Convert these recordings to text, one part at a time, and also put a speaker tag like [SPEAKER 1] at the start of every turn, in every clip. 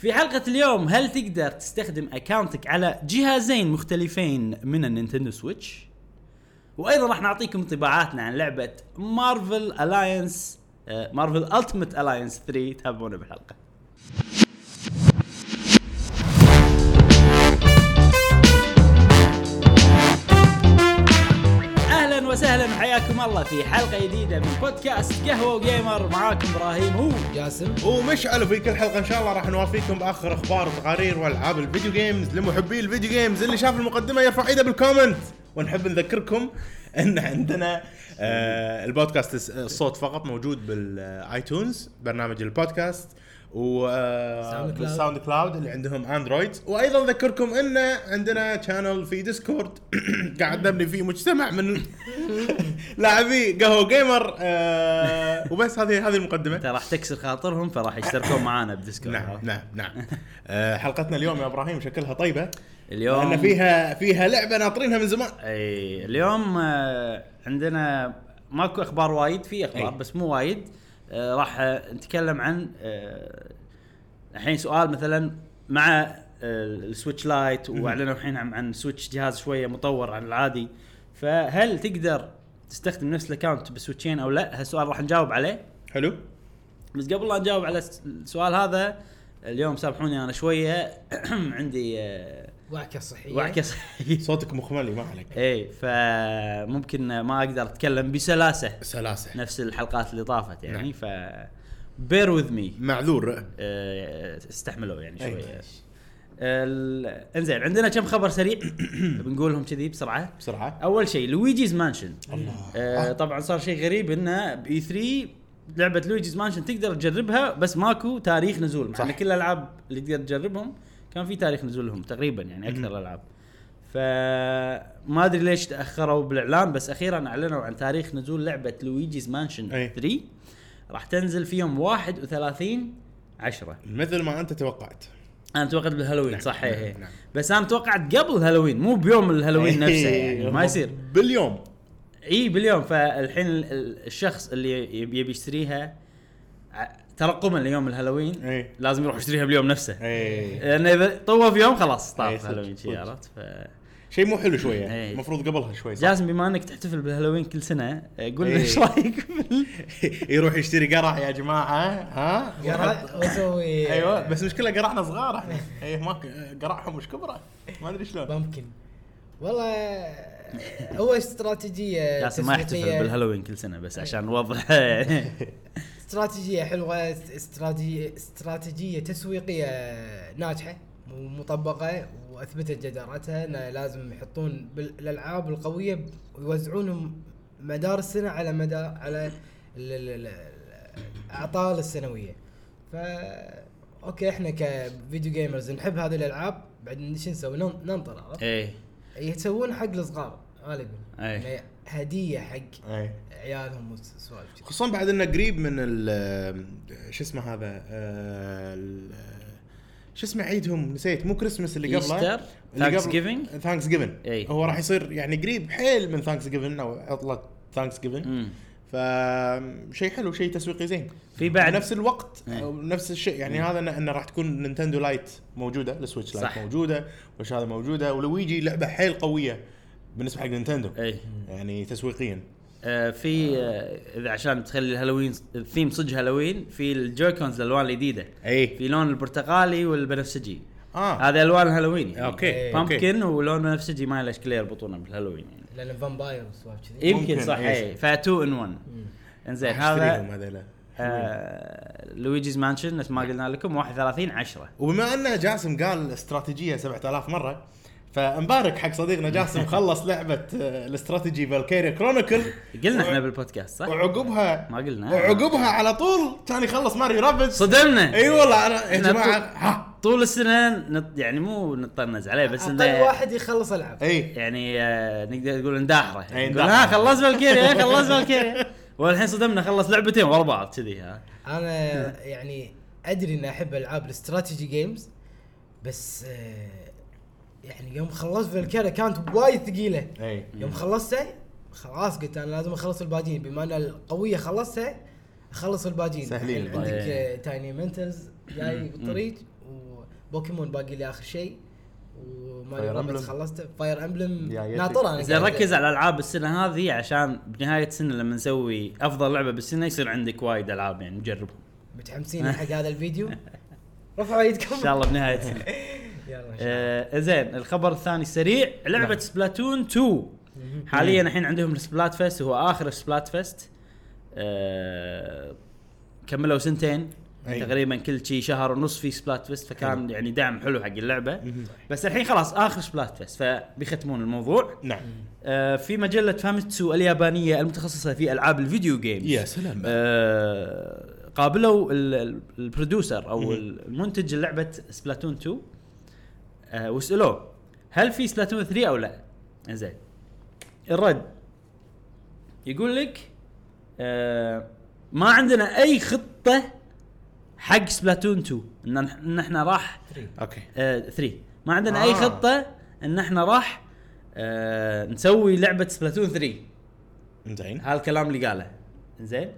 [SPEAKER 1] في حلقة اليوم هل تقدر تستخدم اكاونتك على جهازين مختلفين من النينتندو سويتش؟ وايضا راح نعطيكم انطباعاتنا عن لعبة آه، مارفل الاينس مارفل التيمت الاينس 3 تابعونا بالحلقة. اهلا وسهلا وحياكم الله في حلقة جديدة من بودكاست قهوة وجيمر معاكم ابراهيم هو
[SPEAKER 2] جاسم
[SPEAKER 3] ومشعل في كل حلقه ان شاء الله راح نوافيكم باخر اخبار وتقارير والعاب الفيديو جيمز لمحبي الفيديو جيمز اللي شاف المقدمه يرفع ايده بالكومنت ونحب نذكركم ان عندنا آه البودكاست الس- الصوت فقط موجود بالايتونز برنامج البودكاست و آه،
[SPEAKER 2] ساوند كلاود.
[SPEAKER 3] بالساوند كلاود اللي عندهم اندرويد وايضا نذكركم ان عندنا شانل في ديسكورد قاعد نبني فيه مجتمع من لاعبي قهوه جيمر آه وبس هذه هذه المقدمه
[SPEAKER 1] انت راح تكسر خاطرهم فراح يشتركون معانا بديسكورد
[SPEAKER 3] نعم نعم نعم آه، حلقتنا اليوم يا ابراهيم شكلها طيبه
[SPEAKER 1] اليوم
[SPEAKER 3] لان فيها فيها لعبه ناطرينها من زمان
[SPEAKER 1] اي اليوم آه، عندنا ماكو اخبار وايد في اخبار
[SPEAKER 3] أي.
[SPEAKER 1] بس مو وايد آه، راح آه، نتكلم عن آه، الحين سؤال مثلا مع آه، السويتش لايت واعلنوا الحين عن- عن سويتش جهاز شويه مطور عن العادي فهل تقدر تستخدم نفس الاكونت بسويتشين او لا؟ هالسؤال راح نجاوب عليه
[SPEAKER 3] حلو
[SPEAKER 1] بس قبل لا نجاوب على الس- السؤال هذا اليوم سامحوني انا شويه عندي آه،
[SPEAKER 2] وعكه
[SPEAKER 3] إيه.
[SPEAKER 2] صحيه
[SPEAKER 1] وعكه صحية.
[SPEAKER 3] صوتك مخملي ما عليك
[SPEAKER 1] ايه فممكن ما اقدر اتكلم بسلاسه
[SPEAKER 3] سلاسه
[SPEAKER 1] نفس الحلقات اللي طافت يعني
[SPEAKER 3] نعم.
[SPEAKER 1] ف بير وذ مي
[SPEAKER 3] معذور
[SPEAKER 1] استحملوا يعني
[SPEAKER 3] أي.
[SPEAKER 1] شويه ال- انزين عندنا كم خبر سريع بنقولهم كذي بسرعه
[SPEAKER 3] بسرعه
[SPEAKER 1] اول شيء لويجيز مانشن
[SPEAKER 3] الله
[SPEAKER 1] آه، طبعا صار شيء غريب انه باي 3 لعبه لويجيز مانشن تقدر تجربها بس ماكو تاريخ نزول مع
[SPEAKER 3] صح.
[SPEAKER 1] ان كل الالعاب اللي تقدر تجربهم كان في تاريخ نزولهم تقريبا يعني اكثر الالعاب فما ادري ليش تاخروا بالاعلان بس اخيرا اعلنوا عن تاريخ نزول لعبه لويجيز مانشن
[SPEAKER 3] أي.
[SPEAKER 1] 3 راح تنزل في يوم 31 10
[SPEAKER 3] مثل ما انت توقعت
[SPEAKER 1] انا توقعت بالهالوين صح
[SPEAKER 3] نعم،
[SPEAKER 1] هي هي.
[SPEAKER 3] نعم.
[SPEAKER 1] بس انا توقعت قبل هالوين مو بيوم الهالوين نفسه يعني ما يصير
[SPEAKER 3] إيه، باليوم
[SPEAKER 1] اي باليوم فالحين ال- ال- الشخص اللي يبي يبي يشتريها ع- ترقبا ليوم الهالوين
[SPEAKER 3] اي
[SPEAKER 1] لازم يروح يشتريها باليوم نفسه
[SPEAKER 3] اي
[SPEAKER 1] لان اذا طوف يوم خلاص
[SPEAKER 3] إي،
[SPEAKER 1] طاف
[SPEAKER 3] صدق،
[SPEAKER 1] هالوين شي
[SPEAKER 3] صدق.
[SPEAKER 1] عرفت ف
[SPEAKER 3] شيء مو حلو شويه
[SPEAKER 1] إيه.
[SPEAKER 3] المفروض قبلها شوي صح؟
[SPEAKER 1] جاسم بما انك تحتفل بالهالوين كل سنه آه، قول لنا
[SPEAKER 3] إي.
[SPEAKER 1] ايش رايك بال-
[SPEAKER 3] يروح يشتري قرع يا جماعه ها
[SPEAKER 2] قرا وسوي
[SPEAKER 3] ايوه بس مشكله قرعنا صغار احنا اي ما قرعهم مش كبره ما ادري شلون
[SPEAKER 2] ممكن والله آه، هو استراتيجيه
[SPEAKER 1] جاسم ما يحتفل
[SPEAKER 2] تسويقية-
[SPEAKER 1] بالهالوين كل سنه بس عشان نوضح
[SPEAKER 2] استراتيجيه حلوه است- استراتيجيه استراتيجيه تسويقيه ناجحه ومطبقه واثبتت جدارتها انه لازم يحطون بالالعاب القويه ويوزعونهم مدار السنه على مدار على ال- ال- ال- الاعطال السنويه ف اوكي احنا كفيديو جيمرز نحب هذه الالعاب بعدين شو نسوي نن- ننطر عرفت؟
[SPEAKER 1] اي
[SPEAKER 2] يسوون حق الصغار انا اقول
[SPEAKER 1] أي.
[SPEAKER 2] إنه هديه يعني حق
[SPEAKER 3] اي
[SPEAKER 2] عيالهم وسوالف كذي.
[SPEAKER 3] خصوصا بعد انه قريب من ال شو اسمه هذا آه، ال- شو اسمه عيدهم نسيت مو كريسمس اللي قبله
[SPEAKER 1] إيستر؟
[SPEAKER 3] ثانكس
[SPEAKER 1] Thanksgiving؟ إيه.
[SPEAKER 3] ثانكس جيفن
[SPEAKER 1] إي.
[SPEAKER 3] هو راح يصير يعني قريب حيل من ثانكس جيفن او عطله ثانكس جيفن
[SPEAKER 1] أمم.
[SPEAKER 3] ف شيء حلو شيء تسويقي زين
[SPEAKER 1] في بعد- إيه.
[SPEAKER 3] نفس الوقت
[SPEAKER 1] إي.
[SPEAKER 3] أو نفس الشيء يعني هذا انه إنه راح تكون نينتندو لايت موجوده السويتش لايت
[SPEAKER 1] صح.
[SPEAKER 3] موجوده وش هذا موجوده ولويجي لعبه حيل قويه بالنسبه حق نينتندو
[SPEAKER 1] اي
[SPEAKER 3] يعني تسويقيا
[SPEAKER 1] آه، في آه، اذا عشان تخلي الهالوين الثيم صدق هالوين في الجويكونز الالوان الجديده
[SPEAKER 3] اي
[SPEAKER 1] في لون البرتقالي والبنفسجي
[SPEAKER 3] اه
[SPEAKER 1] إيه. هذا الوان الهالوين يعني.
[SPEAKER 3] اوكي اوكي
[SPEAKER 1] بامبكن ولون بنفسجي ما له اشكاليه يربطونه بالهالوين يعني
[SPEAKER 2] لان فامباير وسوالف كذي
[SPEAKER 1] يمكن,
[SPEAKER 3] ممكن،
[SPEAKER 1] صح
[SPEAKER 3] إيه.
[SPEAKER 1] اي فتو ان 1 انزين
[SPEAKER 3] اشتريهم
[SPEAKER 1] هذا
[SPEAKER 3] هذيلا
[SPEAKER 1] آه لويجيز مانشن نفس ما قلنا لكم 31 10
[SPEAKER 3] وبما ان جاسم قال استراتيجيه 7000 مره فمبارك حق صديقنا جاسم خلص لعبه آه، الاستراتيجي فالكيريا كرونيكل
[SPEAKER 1] قلنا احنا
[SPEAKER 3] وع-
[SPEAKER 1] بالبودكاست صح؟
[SPEAKER 3] وعقبها
[SPEAKER 1] ما قلنا.
[SPEAKER 3] وعقبها على طول كان يخلص ماريو رابتس
[SPEAKER 1] صدمنا
[SPEAKER 3] اي والله انا يا
[SPEAKER 1] إحنا
[SPEAKER 3] جماعه
[SPEAKER 1] طول-
[SPEAKER 3] ها
[SPEAKER 1] طول السنه نط يعني مو نطنز عليه بس
[SPEAKER 2] اقل
[SPEAKER 1] إنه-
[SPEAKER 2] واحد يخلص العاب
[SPEAKER 3] اي
[SPEAKER 1] يعني آه، نقدر نقول انداحره
[SPEAKER 3] إي،
[SPEAKER 1] نقول
[SPEAKER 3] انداحرة.
[SPEAKER 1] ها خلص فالكيريا خلص فالكيريا والحين صدمنا خلص لعبتين ورا بعض كذي ها
[SPEAKER 2] انا يعني ادري اني احب العاب الاستراتيجي جيمز بس آه، يعني يوم خلصت فالكيرا كانت وايد ثقيله
[SPEAKER 3] اي
[SPEAKER 2] يوم خلصتها خلاص قلت انا لازم اخلص الباجين بما ان القويه خلصتها اخلص الباجين
[SPEAKER 3] سهلين
[SPEAKER 2] يعني عندك
[SPEAKER 1] إيه. الباجين.
[SPEAKER 2] تايني منتلز جاي بالطريق و بوكيمون باقي لي اخر شيء وما
[SPEAKER 4] Fire
[SPEAKER 2] أدري
[SPEAKER 4] Emblem.
[SPEAKER 2] بس خلصته فاير امبلم
[SPEAKER 4] يا يتي.
[SPEAKER 2] ناطره انا
[SPEAKER 1] زين
[SPEAKER 2] قاعد.
[SPEAKER 1] ركز على الالعاب السنه هذه عشان بنهايه السنه لما نسوي افضل لعبه بالسنه يصير عندك وايد العاب يعني نجربهم
[SPEAKER 2] متحمسين حق هذا الفيديو رفعوا ايدكم
[SPEAKER 1] ان شاء الله بنهايه السنه
[SPEAKER 2] يلا إن شاء الله.
[SPEAKER 1] آه زين الخبر الثاني سريع لعبه
[SPEAKER 4] نعم.
[SPEAKER 1] سبلاتون 2 حاليا الحين عندهم السبلات فيست وهو اخر سبلات فيست آه كملوا سنتين
[SPEAKER 3] أي.
[SPEAKER 1] تقريبا كل شيء شهر ونص في سبلات فيست فكان يعني دعم حلو حق اللعبه
[SPEAKER 3] مهم.
[SPEAKER 1] بس الحين خلاص اخر سبلات فيست فبيختمون الموضوع
[SPEAKER 3] نعم
[SPEAKER 1] آه في مجله فاميتسو اليابانيه المتخصصه في العاب الفيديو جيمز
[SPEAKER 3] يا سلام
[SPEAKER 1] آه، قابلوا ال- ال- البرودوسر
[SPEAKER 3] مهم.
[SPEAKER 1] او المنتج لعبه سبلاتون 2 آه، وسالوه هل في سبلاتون 3 او لا؟ زين الرد يقول لك آه، ما عندنا اي خطه حق سبلاتون 2 ان ان احنا راح
[SPEAKER 3] اوكي
[SPEAKER 1] آه، 3 ما عندنا اي
[SPEAKER 3] آه.
[SPEAKER 1] خطه ان احنا راح آه، نسوي لعبه سبلاتون 3
[SPEAKER 3] زين
[SPEAKER 1] هذا الكلام اللي قاله زين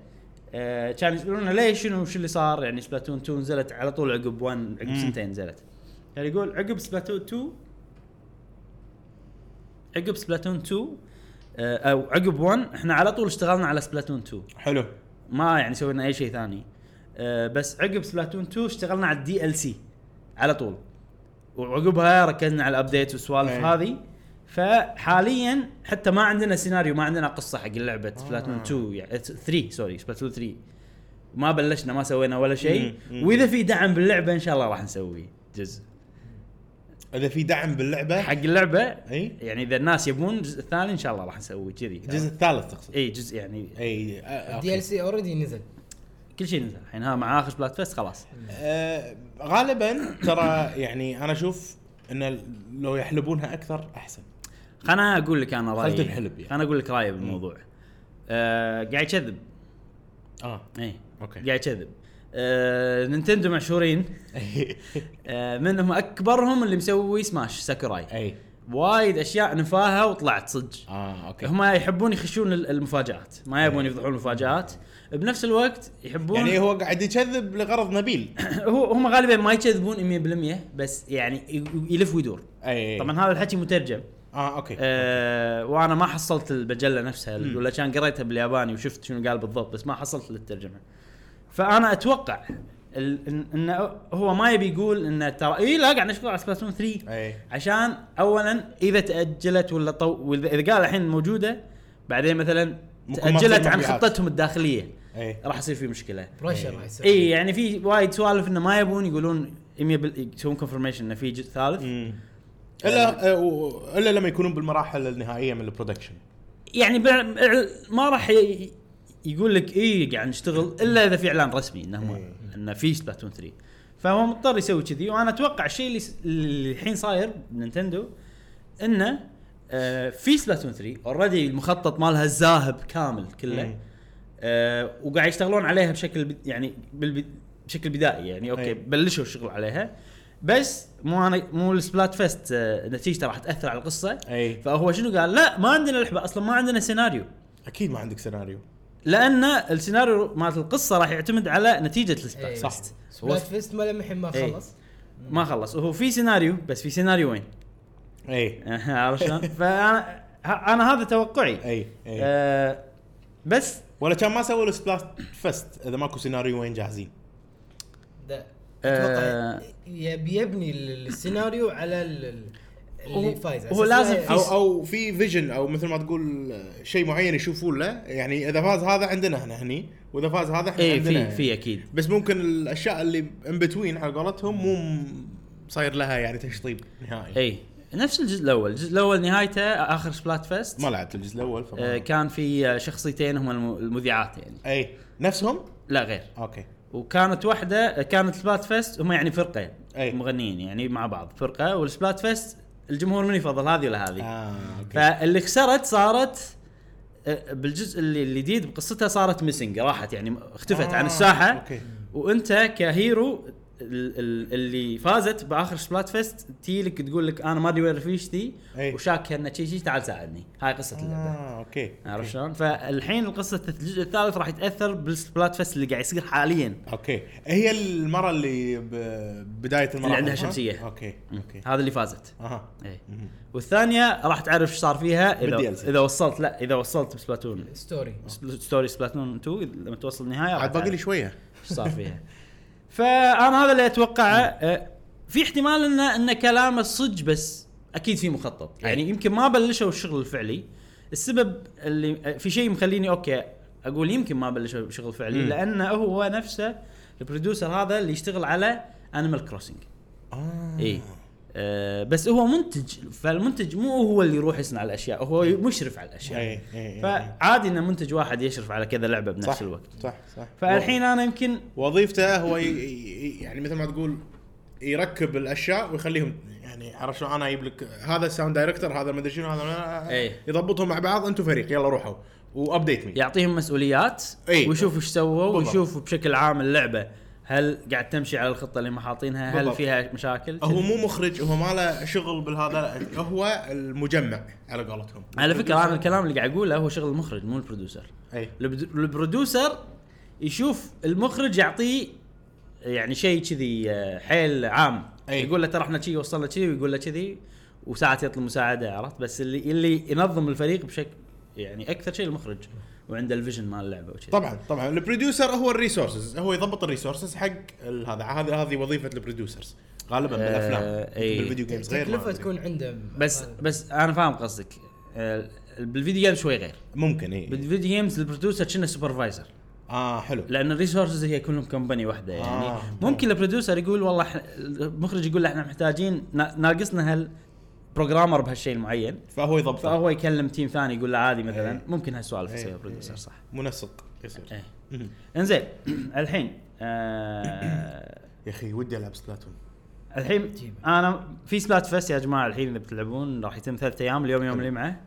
[SPEAKER 1] آه كان يسالونه ليش شنو شو اللي صار يعني سبلاتون 2 نزلت على طول عقب 1 عقب
[SPEAKER 3] مم.
[SPEAKER 1] سنتين نزلت كان يقول عقب سبلاتون 2 عقب سبلاتون 2 آه او عقب 1 احنا على طول اشتغلنا على سبلاتون 2
[SPEAKER 3] حلو
[SPEAKER 1] ما يعني سوينا اي شيء ثاني آه بس عقب سبلاتون 2 اشتغلنا على الدي ال سي على طول وعقبها ركزنا على الابديت والسوالف
[SPEAKER 3] أي.
[SPEAKER 1] هذه فحاليا حتى ما عندنا سيناريو ما عندنا قصه حق لعبه آه. سبلاتون 2 يعني 3 سوري سبلاتون 3 ما بلشنا ما سوينا ولا شيء
[SPEAKER 3] مم، مم.
[SPEAKER 1] واذا في دعم باللعبه ان شاء الله راح نسوي جزء
[SPEAKER 3] اذا في دعم باللعبه
[SPEAKER 1] حق اللعبه
[SPEAKER 3] اي
[SPEAKER 1] يعني اذا الناس يبون الجزء الثاني ان شاء الله راح نسوي كذي
[SPEAKER 3] الجزء الثالث تقصد
[SPEAKER 1] اي جزء يعني
[SPEAKER 3] اي آه،
[SPEAKER 2] الدي
[SPEAKER 3] أوكي.
[SPEAKER 2] ال سي اوريدي نزل
[SPEAKER 1] كل شيء نزل الحين ها مع اخر سبلات فيست خلاص
[SPEAKER 3] آه، غالبا ترى يعني انا اشوف ان لو يحلبونها اكثر احسن
[SPEAKER 1] خلنا اقول لك انا رايي
[SPEAKER 3] خلت الحلب يعني.
[SPEAKER 1] خلنا اقول لك رايي بالموضوع آه قاعد يكذب
[SPEAKER 3] اه
[SPEAKER 1] اي
[SPEAKER 3] اوكي
[SPEAKER 1] قاعد يكذب آه نينتندو مشهورين آه منهم اكبرهم اللي مسوي سماش ساكوراي
[SPEAKER 3] اي
[SPEAKER 1] وايد اشياء نفاها وطلعت صدق
[SPEAKER 3] اه اوكي
[SPEAKER 1] هم يحبون يخشون ال- المفاجات ما يبون يفضحون المفاجات بنفس الوقت يحبون
[SPEAKER 3] إيه. يعني هو قاعد يكذب لغرض نبيل
[SPEAKER 1] هو هم غالبا ما يكذبون 100% بس يعني ي- يلف ويدور
[SPEAKER 3] اي
[SPEAKER 1] طبعا هذا الحكي مترجم
[SPEAKER 3] اه اوكي
[SPEAKER 1] آه وانا ما حصلت المجله نفسها ولا كان قريتها بالياباني وشفت شنو قال بالضبط بس ما حصلت للترجمه فانا اتوقع ال- إن- انه هو ما يبي يقول انه ترى اي لا قاعد نشتغل على سبلاتون 3
[SPEAKER 3] اي
[SPEAKER 1] عشان اولا اذا تاجلت ولا طو وإذا- اذا قال الحين موجوده بعدين مثلا
[SPEAKER 3] ممكن ما تصير
[SPEAKER 1] تاجلت عن
[SPEAKER 3] مبيعات.
[SPEAKER 1] خطتهم الداخليه
[SPEAKER 3] اي
[SPEAKER 1] راح يصير في مشكله
[SPEAKER 2] بريشر راح يصير
[SPEAKER 1] اي يعني في وايد سوالف انه ما يبون يقولون 100 بال- يسوون كونفرميشن انه في جزء ثالث
[SPEAKER 3] مم. الا آه، و- الا لما يكونون بالمراحل النهائيه من البرودكشن
[SPEAKER 1] يعني بع- بع- ما راح ي- يقول لك اي قاعد نشتغل الا اذا في اعلان رسمي انه ما-
[SPEAKER 3] إيه.
[SPEAKER 1] انه في سبلاتون 3 فهو مضطر يسوي كذي وانا اتوقع الشيء اللي س- اللي الحين صاير بنينتندو انه آه في سبلاتون 3 اوريدي المخطط مالها الذاهب كامل كله
[SPEAKER 3] مم.
[SPEAKER 1] آه وقاعد يشتغلون عليها بشكل بد- يعني بالب- بشكل بدائي يعني اوكي
[SPEAKER 3] إيه.
[SPEAKER 1] بلشوا الشغل عليها بس مو انا مو السبلات فيست آه نتيجته راح تاثر على القصه
[SPEAKER 3] اي
[SPEAKER 1] فهو شنو قال؟ لا ما عندنا لعبه اصلا ما عندنا سيناريو
[SPEAKER 3] اكيد ما عندك سيناريو
[SPEAKER 1] لان السيناريو مالت القصه راح يعتمد على نتيجه السبلات
[SPEAKER 2] إيه.
[SPEAKER 1] صح
[SPEAKER 2] صح.
[SPEAKER 1] هو
[SPEAKER 2] بلاد فيست ما لمحين ما
[SPEAKER 1] إيه.
[SPEAKER 2] خلص
[SPEAKER 1] ما خلص وهو في سيناريو بس في سيناريوين
[SPEAKER 3] اي
[SPEAKER 1] عرفت شلون؟ فانا ه- انا هذا توقعي
[SPEAKER 3] اي اي
[SPEAKER 1] آه بس
[SPEAKER 3] ولا كان ما سووا السبلاست فست اذا ماكو سيناريوين جاهزين
[SPEAKER 2] ده
[SPEAKER 1] آه،
[SPEAKER 2] أتوقع يب- يبني ال- السيناريو على ال- ال- اللي
[SPEAKER 1] هو-
[SPEAKER 2] فايز
[SPEAKER 1] هو
[SPEAKER 2] أساس
[SPEAKER 1] لازم
[SPEAKER 2] لا-
[SPEAKER 1] في
[SPEAKER 3] او او في فيجن او مثل ما تقول آه، شيء معين يشوفون له يعني اذا فاز هذا عندنا احنا هني واذا فاز هذا احنا
[SPEAKER 1] اي
[SPEAKER 3] عندنا
[SPEAKER 1] إيه، في في اكيد
[SPEAKER 3] بس ممكن الاشياء اللي ان بتوين على قولتهم مو م- صاير لها يعني تشطيب نهائي
[SPEAKER 1] اي إيه. نفس الجزء الاول، الجزء الاول نهايته اخر سبلات فيست
[SPEAKER 3] ما لعبت الجزء الاول فما
[SPEAKER 1] آه كان في آه، شخصيتين هم الم- المذيعات يعني
[SPEAKER 3] اي إيه. نفسهم
[SPEAKER 1] لا غير
[SPEAKER 3] اوكي
[SPEAKER 1] وكانت واحده كانت سبلات فيست هم يعني فرقه
[SPEAKER 3] أي.
[SPEAKER 1] مغنيين يعني مع بعض فرقه والسبلات فيست الجمهور من يفضل هذه ولا هذه
[SPEAKER 3] اه اوكي
[SPEAKER 1] فاللي خسرت صارت آه، بالجزء اللي اللي جديد بقصتها صارت ميسنج راحت يعني اختفت
[SPEAKER 3] آه،
[SPEAKER 1] عن الساحه
[SPEAKER 3] أوكي.
[SPEAKER 1] وانت كهيرو ال- ال- اللي فازت باخر سبلات فيست تجي لك تقول لك انا ما ادري وين رفيجتي
[SPEAKER 3] أي.
[SPEAKER 1] وشاك انه شي شي تعال ساعدني هاي قصه اللعبه
[SPEAKER 3] اه اوكي
[SPEAKER 1] عرفت شلون؟ فالحين القصه الجزء الثالث راح يتاثر بالسبلات فيست اللي قاعد يصير حاليا
[SPEAKER 3] اوكي هي المره اللي ببدايه المره
[SPEAKER 1] اللي عندها شمسية.
[SPEAKER 3] اوكي اوكي
[SPEAKER 1] هذا اللي فازت
[SPEAKER 3] اها
[SPEAKER 1] ايه
[SPEAKER 3] مهم.
[SPEAKER 1] والثانيه راح تعرف ايش صار فيها اذا
[SPEAKER 3] بالدي إل سي.
[SPEAKER 1] اذا وصلت لا اذا وصلت بسبلاتون
[SPEAKER 2] ستوري
[SPEAKER 1] سبل- ستوري سبلاتون 2 إذا- لما توصل النهايه راح
[SPEAKER 3] عاد باقي
[SPEAKER 1] تعرف.
[SPEAKER 3] لي شويه
[SPEAKER 1] ايش صار فيها فانا هذا اللي اتوقعه أه، في احتمال ان ان كلامه صدق بس اكيد في مخطط
[SPEAKER 3] إيه.
[SPEAKER 1] يعني يمكن ما بلشوا الشغل الفعلي السبب اللي أه، في شيء مخليني اوكي اقول يمكن ما بلشوا شغل فعلي
[SPEAKER 3] مم.
[SPEAKER 1] لانه هو نفسه البروديوسر هذا اللي يشتغل على انيمال كروسنج
[SPEAKER 3] اه
[SPEAKER 1] اي أه بس هو منتج فالمنتج مو هو اللي يروح يصنع الاشياء هو مشرف على الاشياء
[SPEAKER 3] اي اي اي
[SPEAKER 1] فعادي ان منتج واحد يشرف على كذا لعبه بنفس
[SPEAKER 3] إيه، صح
[SPEAKER 1] الوقت
[SPEAKER 3] صح صح
[SPEAKER 1] فالحين انا يمكن
[SPEAKER 3] وظيفته هو ي... ي- يعني مثل ما تقول يركب الاشياء ويخليهم يعني عرفت شلون انا اجيب لك هذا الساوند دايركتور هذا ما ادري شنو هذا ما-
[SPEAKER 1] إيه. يعني
[SPEAKER 3] يضبطهم مع بعض انتم فريق يلا روحوا وابديت مي
[SPEAKER 1] يعطيهم مسؤوليات
[SPEAKER 3] إي.
[SPEAKER 1] ويشوفوا ايش سووا
[SPEAKER 3] بالضبط.
[SPEAKER 1] ويشوفوا بشكل عام اللعبه هل قاعد تمشي على الخطه اللي هم حاطينها هل
[SPEAKER 3] بالضبط.
[SPEAKER 1] فيها مشاكل
[SPEAKER 3] هو مو مخرج هو ما له شغل بالهذا لا، هو المجمع على قولتهم
[SPEAKER 1] على فكره انا الكلام اللي قاعد اقوله هو شغل المخرج مو البروديوسر
[SPEAKER 3] اي
[SPEAKER 1] البرد- البروديوسر يشوف المخرج يعطيه يعني شيء كذي آه، حيل عام
[SPEAKER 3] أي.
[SPEAKER 1] يقول له ترى احنا كذي وصلنا كذي ويقول له كذي وساعات يطلب مساعده عرفت بس اللي اللي ينظم الفريق بشكل يعني اكثر شيء المخرج وعنده الفيجن مال اللعبه وكذي
[SPEAKER 3] طبعا طبعا البروديوسر هو الريسورسز هو يضبط الريسورسز حق ال- هذا هذه هذه وظيفه البروديوسرز غالبا
[SPEAKER 1] آه،
[SPEAKER 3] بالافلام
[SPEAKER 1] إي.
[SPEAKER 3] بالفيديو جيمز غير ما
[SPEAKER 2] تكلفه
[SPEAKER 3] أدري.
[SPEAKER 2] تكون عنده
[SPEAKER 1] بس
[SPEAKER 2] غالباً.
[SPEAKER 1] بس انا فاهم قصدك آه، بالفيديو جيمز شوي غير
[SPEAKER 3] ممكن اي
[SPEAKER 1] بالفيديو جيمز البروديوسر كنا سوبرفايزر
[SPEAKER 3] اه حلو
[SPEAKER 1] لان الريسورسز هي كلهم كمباني واحده يعني
[SPEAKER 3] آه.
[SPEAKER 1] آه. ممكن البروديوسر يقول والله إحنا- المخرج يقول احنا محتاجين نا- ناقصنا هال بروجرامر بهالشيء المعين
[SPEAKER 3] فهو يضبطه
[SPEAKER 1] فهو يكلم تيم ثاني يقول له عادي مثلا
[SPEAKER 3] إيه.
[SPEAKER 1] ممكن هالسوالف
[SPEAKER 3] إيه.
[SPEAKER 1] يسويها
[SPEAKER 3] إيه.
[SPEAKER 1] البروديوسر صح
[SPEAKER 3] منسق يصير
[SPEAKER 1] إيه.
[SPEAKER 3] مهم.
[SPEAKER 1] انزين الحين آه
[SPEAKER 3] يا اخي ودي العب سبلاتون
[SPEAKER 1] إيه. الحين
[SPEAKER 2] جيب.
[SPEAKER 1] انا في سبلات فيست يا جماعه الحين اذا بتلعبون راح يتم ثلاث ايام اليوم يوم الجمعه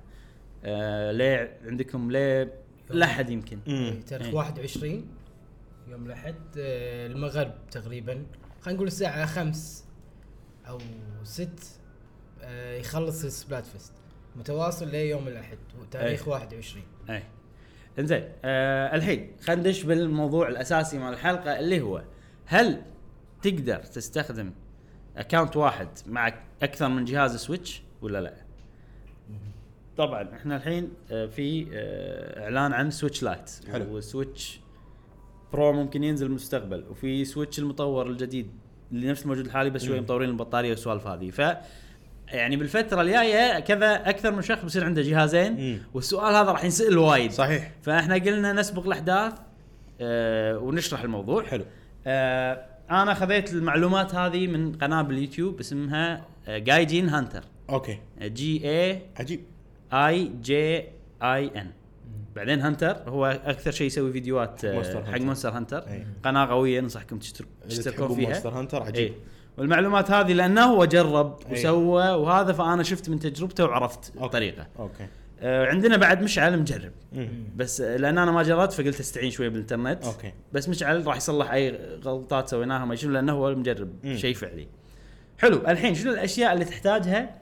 [SPEAKER 1] آه ليه عندكم ليه لحد يمكن
[SPEAKER 2] يعني تاريخ
[SPEAKER 1] إيه.
[SPEAKER 2] 21 يوم الاحد آه، المغرب تقريبا خلينا نقول الساعة 5 او 6 آه، يخلص السبلات فيست متواصل ليوم الاحد وتاريخ
[SPEAKER 1] إيه.
[SPEAKER 2] 21
[SPEAKER 1] اي انزين آه الحين خلينا ندش بالموضوع الاساسي مال الحلقه اللي هو هل تقدر تستخدم اكونت واحد مع اكثر من جهاز سويتش ولا لا؟ طبعا احنا الحين آه، في آه، اعلان عن سويتش لايت
[SPEAKER 3] حلو.
[SPEAKER 1] وسويتش برو ممكن ينزل المستقبل وفي سويتش المطور الجديد اللي نفس الموجود الحالي بس شوي
[SPEAKER 3] مم.
[SPEAKER 1] مطورين البطاريه والسوالف هذه ف يعني بالفتره الجايه كذا اكثر من شخص بيصير عنده
[SPEAKER 3] مم.
[SPEAKER 1] جهازين والسؤال هذا راح ينسال وايد
[SPEAKER 3] صحيح
[SPEAKER 1] فاحنا قلنا نسبق الاحداث آه ونشرح الموضوع
[SPEAKER 3] حلو.
[SPEAKER 1] آه انا خذيت المعلومات هذه من قناه باليوتيوب اسمها آه جايجين هانتر
[SPEAKER 3] اوكي
[SPEAKER 1] جي اي
[SPEAKER 3] عجيب
[SPEAKER 1] اي جي اي ان بعدين هانتر هو اكثر شيء يسوي فيديوهات
[SPEAKER 3] مونستر
[SPEAKER 1] آه، حق
[SPEAKER 3] هانتر.
[SPEAKER 1] مونستر هانتر
[SPEAKER 3] أي.
[SPEAKER 1] قناه قويه انصحكم تشتر- تشتركون
[SPEAKER 3] إيه. تحبون مونستر
[SPEAKER 1] فيها
[SPEAKER 3] هانتر عجيب
[SPEAKER 1] اي والمعلومات هذه لانه هو جرب
[SPEAKER 3] أي.
[SPEAKER 1] وسوى وهذا فانا شفت من تجربته وعرفت
[SPEAKER 3] إيه. أوكي.
[SPEAKER 1] الطريقه
[SPEAKER 3] اوكي
[SPEAKER 1] آه، عندنا بعد مشعل مجرب
[SPEAKER 3] مم.
[SPEAKER 1] بس لان انا ما جربت فقلت استعين شويه بالانترنت
[SPEAKER 3] أوكي.
[SPEAKER 1] بس مشعل راح يصلح اي غلطات سويناها ما شنو لانه هو المجرب
[SPEAKER 3] مم.
[SPEAKER 1] شيء فعلي حلو الحين شنو الاشياء اللي تحتاجها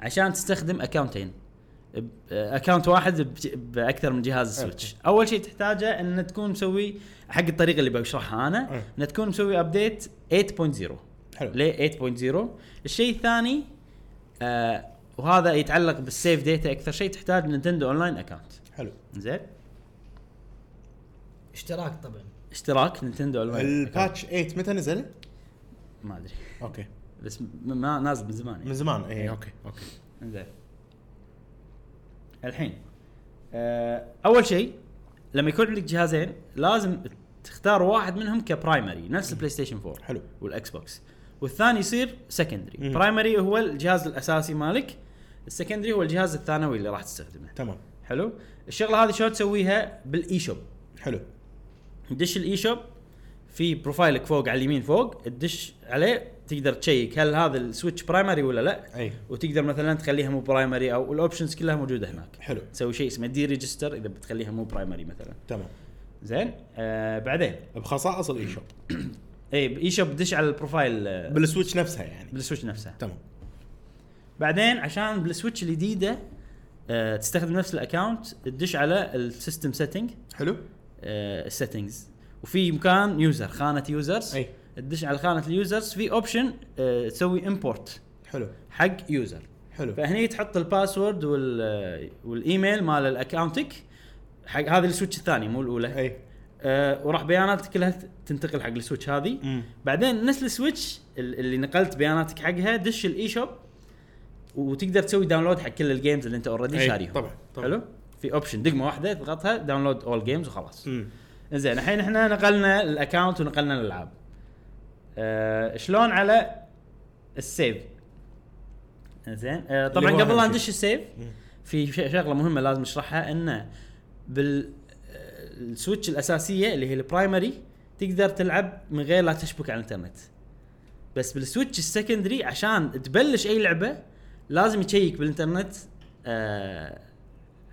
[SPEAKER 1] عشان تستخدم اكونتين اكونت واحد بج- باكثر من جهاز
[SPEAKER 3] أوكي.
[SPEAKER 1] سويتش اول شيء تحتاجه ان تكون مسوي حق الطريقه اللي بشرحها انا
[SPEAKER 3] أوكي.
[SPEAKER 1] ان تكون مسوي ابديت 8.0
[SPEAKER 3] حلو.
[SPEAKER 1] ليه 8.0 الشيء الثاني آه وهذا يتعلق بالسيف ديتا اكثر شيء تحتاج نينتندو اونلاين اكونت
[SPEAKER 3] حلو
[SPEAKER 1] زين
[SPEAKER 2] اشتراك طبعا
[SPEAKER 1] اشتراك نينتندو اونلاين أكاونت.
[SPEAKER 3] الباتش 8 متى نزل؟
[SPEAKER 1] ما ادري
[SPEAKER 3] اوكي
[SPEAKER 1] بس م- ما نازل من زمان
[SPEAKER 3] من
[SPEAKER 1] يعني.
[SPEAKER 3] زمان إيه. اي اوكي اوكي
[SPEAKER 1] زين الحين آه اول شيء لما يكون عندك جهازين لازم تختار واحد منهم كبرايمري نفس البلاي ستيشن 4
[SPEAKER 3] حلو.
[SPEAKER 1] والاكس بوكس والثاني يصير سكندري
[SPEAKER 3] مم.
[SPEAKER 1] برايمري هو الجهاز الاساسي مالك السكندري هو الجهاز الثانوي اللي راح تستخدمه
[SPEAKER 3] تمام
[SPEAKER 1] حلو الشغله هذه شلون تسويها بالاي شوب
[SPEAKER 3] حلو
[SPEAKER 1] دش الاي شوب في بروفايلك فوق على اليمين فوق تدش عليه تقدر تشيك هل هذا السويتش برايمري ولا لا
[SPEAKER 3] اي
[SPEAKER 1] وتقدر مثلا تخليها مو برايمري او الاوبشنز كلها موجوده هناك
[SPEAKER 3] حلو
[SPEAKER 1] تسوي شيء اسمه دي ريجستر اذا بتخليها مو برايمري مثلا
[SPEAKER 3] تمام
[SPEAKER 1] زين آه بعدين
[SPEAKER 3] بخصائص الاي شوب
[SPEAKER 1] اي اي شوب دش على البروفايل آه،
[SPEAKER 3] بالسويتش نفسها يعني
[SPEAKER 1] بالسويتش نفسه
[SPEAKER 3] تمام
[SPEAKER 1] بعدين عشان بالسويتش الجديده آه، تستخدم نفس الاكونت تدش على السيستم سيتنج
[SPEAKER 3] حلو
[SPEAKER 1] السيتنجز وفي مكان يوزر خانه يوزرز
[SPEAKER 3] أي.
[SPEAKER 1] تدش على خانه اليوزرز في اوبشن تسوي امبورت
[SPEAKER 3] حلو
[SPEAKER 1] حق يوزر
[SPEAKER 3] حلو
[SPEAKER 1] فهني تحط الباسورد وال والايميل مال الاكونتك حق هذه السويتش الثاني مو الاولى
[SPEAKER 3] اي
[SPEAKER 1] أه وراح بياناتك كلها تنتقل حق السويتش هذه
[SPEAKER 3] مم.
[SPEAKER 1] بعدين نفس السويتش ال- اللي نقلت بياناتك حقها دش الاي شوب وتقدر تسوي داونلود حق كل الجيمز اللي انت اوريدي
[SPEAKER 3] أي،
[SPEAKER 1] شاريهم
[SPEAKER 3] طبعاً، إيه. طبعاً.
[SPEAKER 1] حلو في اوبشن دقمه واحده تضغطها داونلود اول جيمز وخلاص
[SPEAKER 3] مم.
[SPEAKER 1] زين الحين احنا نقلنا الاكونت ونقلنا الالعاب أه شلون على السيف زين أه طبعا
[SPEAKER 3] هو
[SPEAKER 1] قبل
[SPEAKER 3] أهم
[SPEAKER 1] لا
[SPEAKER 3] شيء.
[SPEAKER 1] ندش السيف في ش- شغله مهمه لازم اشرحها انه بال آه، السويتش الاساسيه اللي هي البرايمري تقدر تلعب من غير لا تشبك على الانترنت بس بالسويتش السكندري عشان تبلش اي لعبه لازم تشيك بالانترنت آه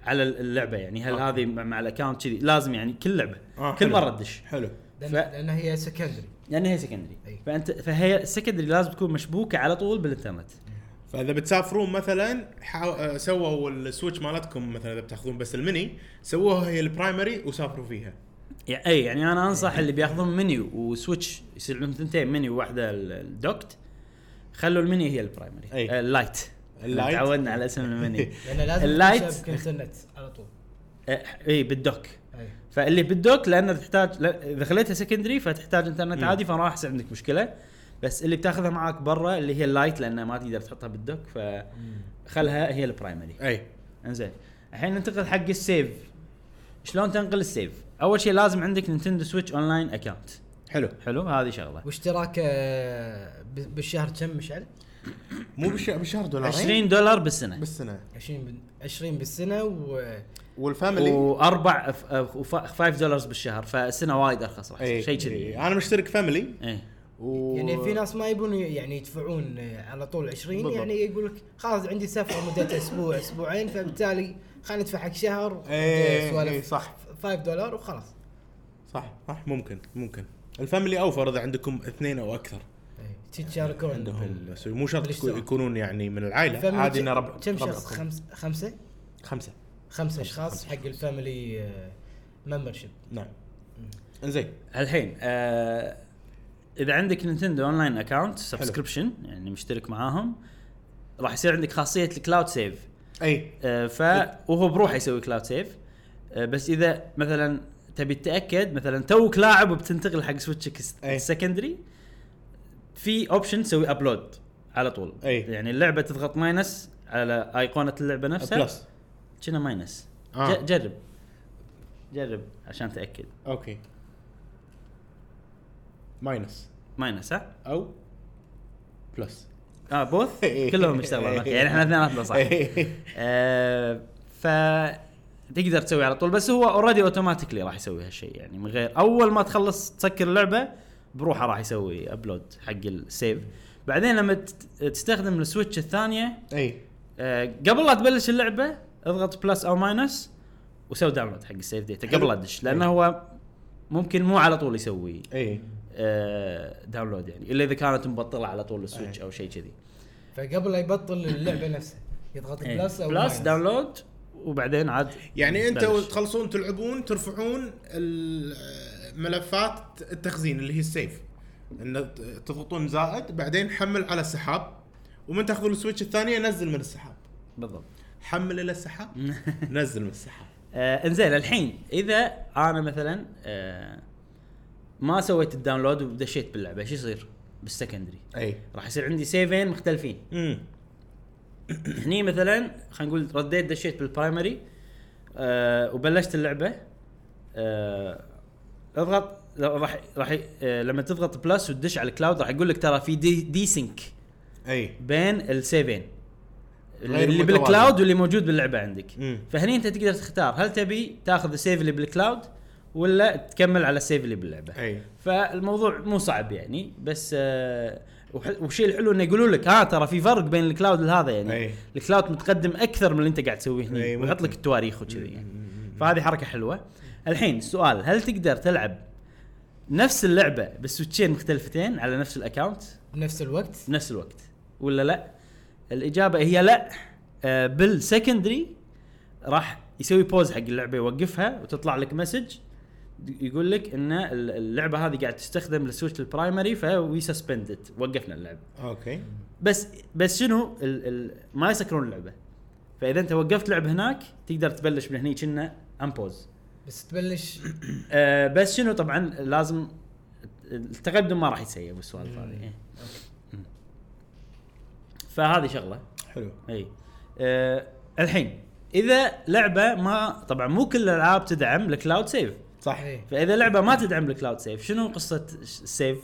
[SPEAKER 1] على اللعبه يعني هل
[SPEAKER 3] أوكي.
[SPEAKER 1] هذه مع مع الاكونت كذي لازم يعني كل لعبه
[SPEAKER 3] آه،
[SPEAKER 1] كل
[SPEAKER 3] حلو.
[SPEAKER 1] مره تدش
[SPEAKER 3] حلو
[SPEAKER 2] لان,
[SPEAKER 1] ف-
[SPEAKER 2] لأن هي سكندري
[SPEAKER 1] لان هي سكندري
[SPEAKER 2] أي.
[SPEAKER 1] فانت فهي السكندري لازم تكون مشبوكه على طول بالانترنت
[SPEAKER 3] فاذا بتسافرون مثلا حاو... آه، سووا السويتش مالتكم مثلا اذا بتاخذون بس الميني سووها هي البرايمري وسافروا فيها
[SPEAKER 1] يعني اي يعني انا انصح اللي بياخذون منيو وسويتش يصير عندهم ثنتين منيو واحده ال- الدوكت خلوا المنيو هي البرايمري
[SPEAKER 3] أي.
[SPEAKER 1] آه، اللايت
[SPEAKER 3] اللايت.
[SPEAKER 1] تعودنا على اسم المنيو
[SPEAKER 2] لان لازم
[SPEAKER 1] اللايت.
[SPEAKER 2] تشبك انترنت على طول إيه.
[SPEAKER 1] آه، اي بالدوك
[SPEAKER 2] اي
[SPEAKER 1] فاللي بالدوك لانه تحتاج لا- اذا خليتها سكندري فتحتاج انترنت
[SPEAKER 3] مم.
[SPEAKER 1] عادي فراح يصير عندك مشكله بس اللي بتاخذها معاك برا اللي هي اللايت لانها ما تقدر تحطها بالدوك فخلها هي البرايمري
[SPEAKER 3] اي
[SPEAKER 1] انزين الحين ننتقل حق السيف شلون تنقل السيف اول شيء لازم عندك نينتندو سويتش اونلاين اكونت
[SPEAKER 3] حلو
[SPEAKER 1] حلو هذه شغله
[SPEAKER 2] واشتراك آه، ب- بالشهر كم مشعل؟
[SPEAKER 3] مو بالش... بالشهر دولارين
[SPEAKER 1] 20 دولار بالسنه
[SPEAKER 3] بالسنه
[SPEAKER 2] 20 بال- 20 بالسنه و
[SPEAKER 3] والفاميلي
[SPEAKER 1] واربع ف- ف- ف- فايف دولارز بالشهر فالسنه وايد ارخص راح تصير.
[SPEAKER 3] أي.
[SPEAKER 1] شيء كذي إيه.
[SPEAKER 3] أي.
[SPEAKER 1] يعني.
[SPEAKER 3] انا مشترك فاميلي
[SPEAKER 1] اي
[SPEAKER 3] و...
[SPEAKER 2] يعني في ناس ما يبون يعني يدفعون آه، على طول 20
[SPEAKER 3] بالضبط.
[SPEAKER 2] يعني يقول لك خلاص عندي سفره مدتها اسبوع اسبوعين فبالتالي خلينا ندفع حق شهر
[SPEAKER 3] إيه،
[SPEAKER 2] آه، سوالف
[SPEAKER 3] إيه، صح.
[SPEAKER 2] 5 دولار وخلاص
[SPEAKER 3] صح صح ممكن ممكن الفاميلي اوفر اذا عندكم اثنين او اكثر
[SPEAKER 2] إيه، تتشاركون
[SPEAKER 3] عندهم بس مو شرط يكون-
[SPEAKER 2] بالاشتراك.
[SPEAKER 3] يكونون يعني من العائله
[SPEAKER 2] الفاميلي
[SPEAKER 3] عادي
[SPEAKER 2] كم-
[SPEAKER 3] انه ربع
[SPEAKER 2] كم
[SPEAKER 3] ربع
[SPEAKER 2] شخص خمس خمسه
[SPEAKER 3] خمسه
[SPEAKER 2] خمسه اشخاص حق الفاميلي آه، ممبرشيب
[SPEAKER 3] نعم زين
[SPEAKER 1] الحين آه اذا عندك نينتندو اونلاين اكونت سبسكريبشن يعني مشترك معاهم راح يصير عندك خاصيه الكلاود سيف
[SPEAKER 3] اي
[SPEAKER 1] آه، ف وهو بروحه يسوي كلاود سيف آه، بس اذا مثلا تبي تتاكد مثلا توك لاعب وبتنتقل حق سويتشك الس-
[SPEAKER 3] أي.
[SPEAKER 1] السكندري في اوبشن تسوي ابلود على طول
[SPEAKER 3] أي.
[SPEAKER 1] يعني اللعبه تضغط ماينس على ايقونه اللعبه نفسها
[SPEAKER 3] بلس
[SPEAKER 1] كنا ماينس
[SPEAKER 3] آه.
[SPEAKER 1] ج- جرب جرب عشان تاكد
[SPEAKER 3] اوكي ماينس
[SPEAKER 1] ماينس ها
[SPEAKER 3] او بلس
[SPEAKER 1] اه بوث كلهم يشتغلون أوكي، يعني احنا اثنيناتنا صح
[SPEAKER 3] إيه.
[SPEAKER 1] آه، ف تقدر تسوي على طول بس هو اوريدي اوتوماتيكلي راح يسوي هالشيء يعني من غير اول ما تخلص تسكر اللعبه بروحه راح يسوي ابلود حق السيف بعدين لما تت- تستخدم السويتش الثانيه
[SPEAKER 3] اي
[SPEAKER 1] آه، قبل لا تبلش اللعبه اضغط بلس او ماينس وسوي داونلود حق السيف ديتا قبل
[SPEAKER 3] حلو.
[SPEAKER 1] لا تدش لانه هو ممكن مو على طول يسوي
[SPEAKER 3] اي
[SPEAKER 1] آه، داونلود يعني الا اذا كانت مبطله على طول السويتش
[SPEAKER 3] أي.
[SPEAKER 1] او شيء كذي
[SPEAKER 2] فقبل لا يبطل اللعبه نفسها يضغط بلس او
[SPEAKER 1] بلس
[SPEAKER 2] ماينس.
[SPEAKER 1] داونلود إيه. وبعدين عاد
[SPEAKER 3] يعني انت
[SPEAKER 1] تبلش.
[SPEAKER 3] تخلصون تلعبون ترفعون الملفات التخزين اللي هي السيف ان تضغطون زائد بعدين حمل على السحاب ومن تاخذون السويتش الثانيه نزل من السحاب
[SPEAKER 1] بالضبط
[SPEAKER 3] حمل الى السحاب نزل من السحاب
[SPEAKER 1] آه انزين الحين اذا انا مثلا آه ما سويت الداونلود ودشيت باللعبه ايش يصير؟ بالسكندري
[SPEAKER 3] اي
[SPEAKER 1] راح يصير عندي سيفين مختلفين
[SPEAKER 3] امم
[SPEAKER 1] هني مثلا خلينا نقول رديت دشيت بالبرايمري آه وبلشت اللعبه آه اضغط لو راح راح ي- آه لما تضغط بلس وتدش على الكلاود راح يقول لك ترى في دي, دي سينك
[SPEAKER 3] اي
[SPEAKER 1] بين السيفين اللي,
[SPEAKER 3] غير
[SPEAKER 1] اللي
[SPEAKER 3] متوازن.
[SPEAKER 1] بالكلاود واللي موجود باللعبه عندك
[SPEAKER 3] مم.
[SPEAKER 1] فهني انت تقدر تختار هل تبي تاخذ السيف اللي بالكلاود ولا تكمل على السيف اللي باللعبه
[SPEAKER 3] اي
[SPEAKER 1] فالموضوع مو صعب يعني بس آه وح- والشيء الحلو انه يقولوا لك ها ترى في فرق بين الكلاود لهذا يعني
[SPEAKER 3] أي.
[SPEAKER 1] الكلاود متقدم اكثر من اللي انت قاعد تسويه هنا
[SPEAKER 3] أي،
[SPEAKER 1] ويحط لك يعني.
[SPEAKER 3] ممكن.
[SPEAKER 1] التواريخ وكذي يعني فهذه حركه حلوه الحين السؤال هل تقدر تلعب نفس اللعبه بالسويتشين مختلفتين على نفس الاكونت
[SPEAKER 2] بنفس الوقت
[SPEAKER 1] بنفس الوقت ولا لا؟ الاجابه هي لا آه بالسكندري راح يسوي بوز حق اللعبه يوقفها وتطلع لك مسج يقول لك ان ال- اللعبه هذه قاعد تستخدم للسويتش البرايمري فوي سسبندت وقفنا اللعبه
[SPEAKER 3] اوكي
[SPEAKER 1] بس بس شنو ال ال ما يسكرون اللعبه فاذا انت وقفت لعب هناك تقدر تبلش من هني كنا امبوز
[SPEAKER 2] بس تبلش
[SPEAKER 1] آه بس شنو طبعا لازم التقدم ما راح يتسيب بالسوالف هذه إيه. فهذه شغله
[SPEAKER 3] حلو
[SPEAKER 1] اي آه الحين اذا لعبه ما طبعا مو كل الالعاب تدعم الكلاود سيف
[SPEAKER 3] صح
[SPEAKER 2] إيه.
[SPEAKER 1] فاذا لعبه ما تدعم الكلاود سيف شنو قصه السيف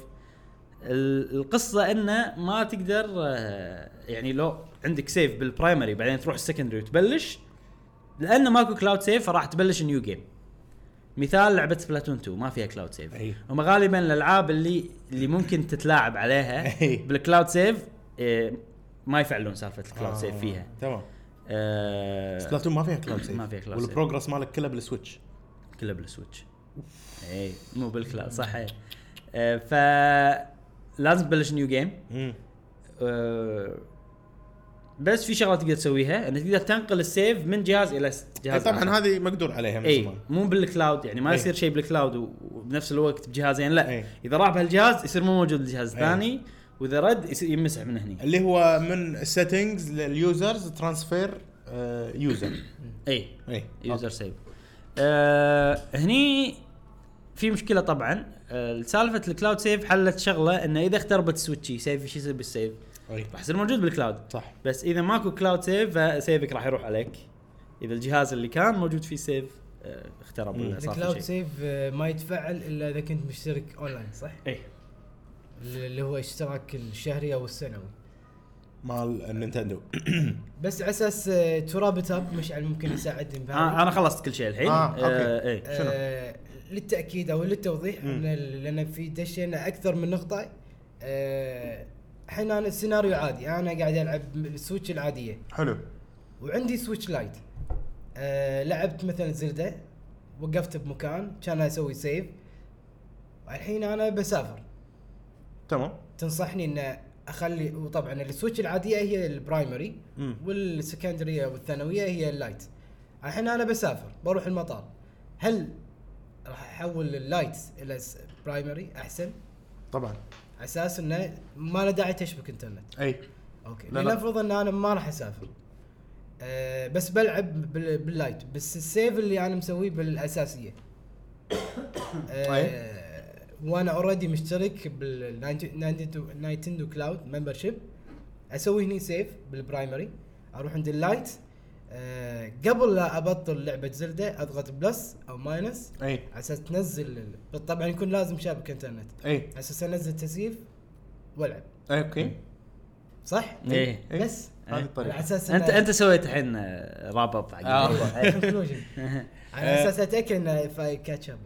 [SPEAKER 1] ال- القصه انه ما تقدر آه، يعني لو عندك سيف بالبرايمري بعدين تروح السكندري وتبلش لانه ماكو كلاود سيف فراح تبلش نيو جيم مثال لعبه سبلاتون 2 ما فيها كلاود سيف
[SPEAKER 3] أي.
[SPEAKER 1] هم غالبا الالعاب اللي اللي ممكن تتلاعب عليها
[SPEAKER 3] أي.
[SPEAKER 1] بالكلاود سيف آه، ما يفعلون سالفه الكلاود
[SPEAKER 3] آه،
[SPEAKER 1] سيف فيها
[SPEAKER 3] تمام
[SPEAKER 1] آه،
[SPEAKER 3] سبلاتون ما فيها كلاود سيف
[SPEAKER 1] ما فيها cloud save.
[SPEAKER 3] والبروجرس مالك كله بالسويتش
[SPEAKER 1] كله بالسويتش اي مو بالكلاود صح اي آه، ف لازم تبلش نيو جيم
[SPEAKER 3] امم
[SPEAKER 1] آه، بس في شغله تقدر تسويها انك تقدر تنقل السيف من جهاز الى س- جهاز
[SPEAKER 3] طبعا
[SPEAKER 1] آخر.
[SPEAKER 3] إيه، هذه مقدور عليها من
[SPEAKER 1] اي
[SPEAKER 3] زمان
[SPEAKER 1] مو بالكلاود يعني ما
[SPEAKER 3] أي.
[SPEAKER 1] يصير شيء بالكلاود و- وبنفس الوقت بجهازين لا
[SPEAKER 3] أي.
[SPEAKER 1] اذا راح بهالجهاز يصير مو موجود الجهاز
[SPEAKER 3] أي.
[SPEAKER 1] الثاني واذا رد يصير يمسح من هني
[SPEAKER 3] اللي هو من السيتنجز لليوزرز ترانسفير آه، إيه، يوزر
[SPEAKER 1] اي
[SPEAKER 3] اي
[SPEAKER 1] يوزر سيف آه هني في مشكله طبعا آه سالفه الكلاود سيف حلت شغله انه اذا اختربت سويتشي سيف ايش يصير بالسيف؟
[SPEAKER 3] أي.
[SPEAKER 1] راح يصير موجود بالكلاود
[SPEAKER 3] صح
[SPEAKER 1] بس اذا ماكو كلاود سيف فسيفك راح يروح عليك اذا الجهاز اللي كان موجود فيه سيف آه اخترب
[SPEAKER 3] مم.
[SPEAKER 1] ولا صار
[SPEAKER 2] الكلاود
[SPEAKER 1] فيه شيء
[SPEAKER 2] سيف آه، ما يتفعل الا اذا كنت مشترك اونلاين صح؟
[SPEAKER 1] اي
[SPEAKER 2] اللي هو اشتراك الشهري او السنوي
[SPEAKER 3] مال النينتندو
[SPEAKER 2] بس على اساس آه، ترابط اب مشعل ممكن يساعدني بهذا
[SPEAKER 1] آه انا خلصت كل شيء الحين إيه.
[SPEAKER 3] آه، أوكي.
[SPEAKER 1] اي
[SPEAKER 3] شنو؟
[SPEAKER 2] آه، للتاكيد او للتوضيح ان ال- لان في دشينا اكثر من نقطه آه، الحين انا السيناريو عادي انا قاعد العب السويتش العاديه
[SPEAKER 3] حلو
[SPEAKER 2] وعندي سويتش لايت آه، لعبت مثلا زلدة وقفت بمكان كان اسوي سيف الحين انا بسافر
[SPEAKER 3] تمام
[SPEAKER 2] تنصحني ان اخلي وطبعا السويتش العاديه هي البرايمري
[SPEAKER 3] مم.
[SPEAKER 2] والسكندريه والثانويه هي اللايت الحين انا بسافر بروح المطار هل راح احول اللايت الى س- برايمري احسن
[SPEAKER 3] طبعا
[SPEAKER 2] على اساس انه ما له داعي تشبك انترنت
[SPEAKER 3] اي
[SPEAKER 2] اوكي
[SPEAKER 3] لا، لا.
[SPEAKER 2] لنفرض ان انا ما راح اسافر أه بس بلعب بال- باللايت بس السيف اللي انا مسويه بالاساسيه
[SPEAKER 3] طيب.
[SPEAKER 2] أه وانا اوريدي مشترك بالنايتندو كلاود ممبرشيب اسوي هني سيف بالبرايمري اروح عند اللايت أه قبل لا ابطل لعبه زلده اضغط بلس او ماينس
[SPEAKER 3] اي
[SPEAKER 2] على اساس تنزل ال- طبعا يكون لازم شابك انترنت
[SPEAKER 3] اي
[SPEAKER 2] على اساس انزل تسييف والعب
[SPEAKER 3] اي اوكي
[SPEAKER 2] صح؟
[SPEAKER 1] إيه.
[SPEAKER 3] إيه.
[SPEAKER 2] بس
[SPEAKER 3] هذه
[SPEAKER 2] على
[SPEAKER 3] الطريقه
[SPEAKER 2] اساس
[SPEAKER 1] انت انت سويت الحين راب اب
[SPEAKER 3] آه.
[SPEAKER 1] حق
[SPEAKER 2] كونكلوجن
[SPEAKER 1] آه.
[SPEAKER 2] على اساس اتاكد انه اف اي كاتش اب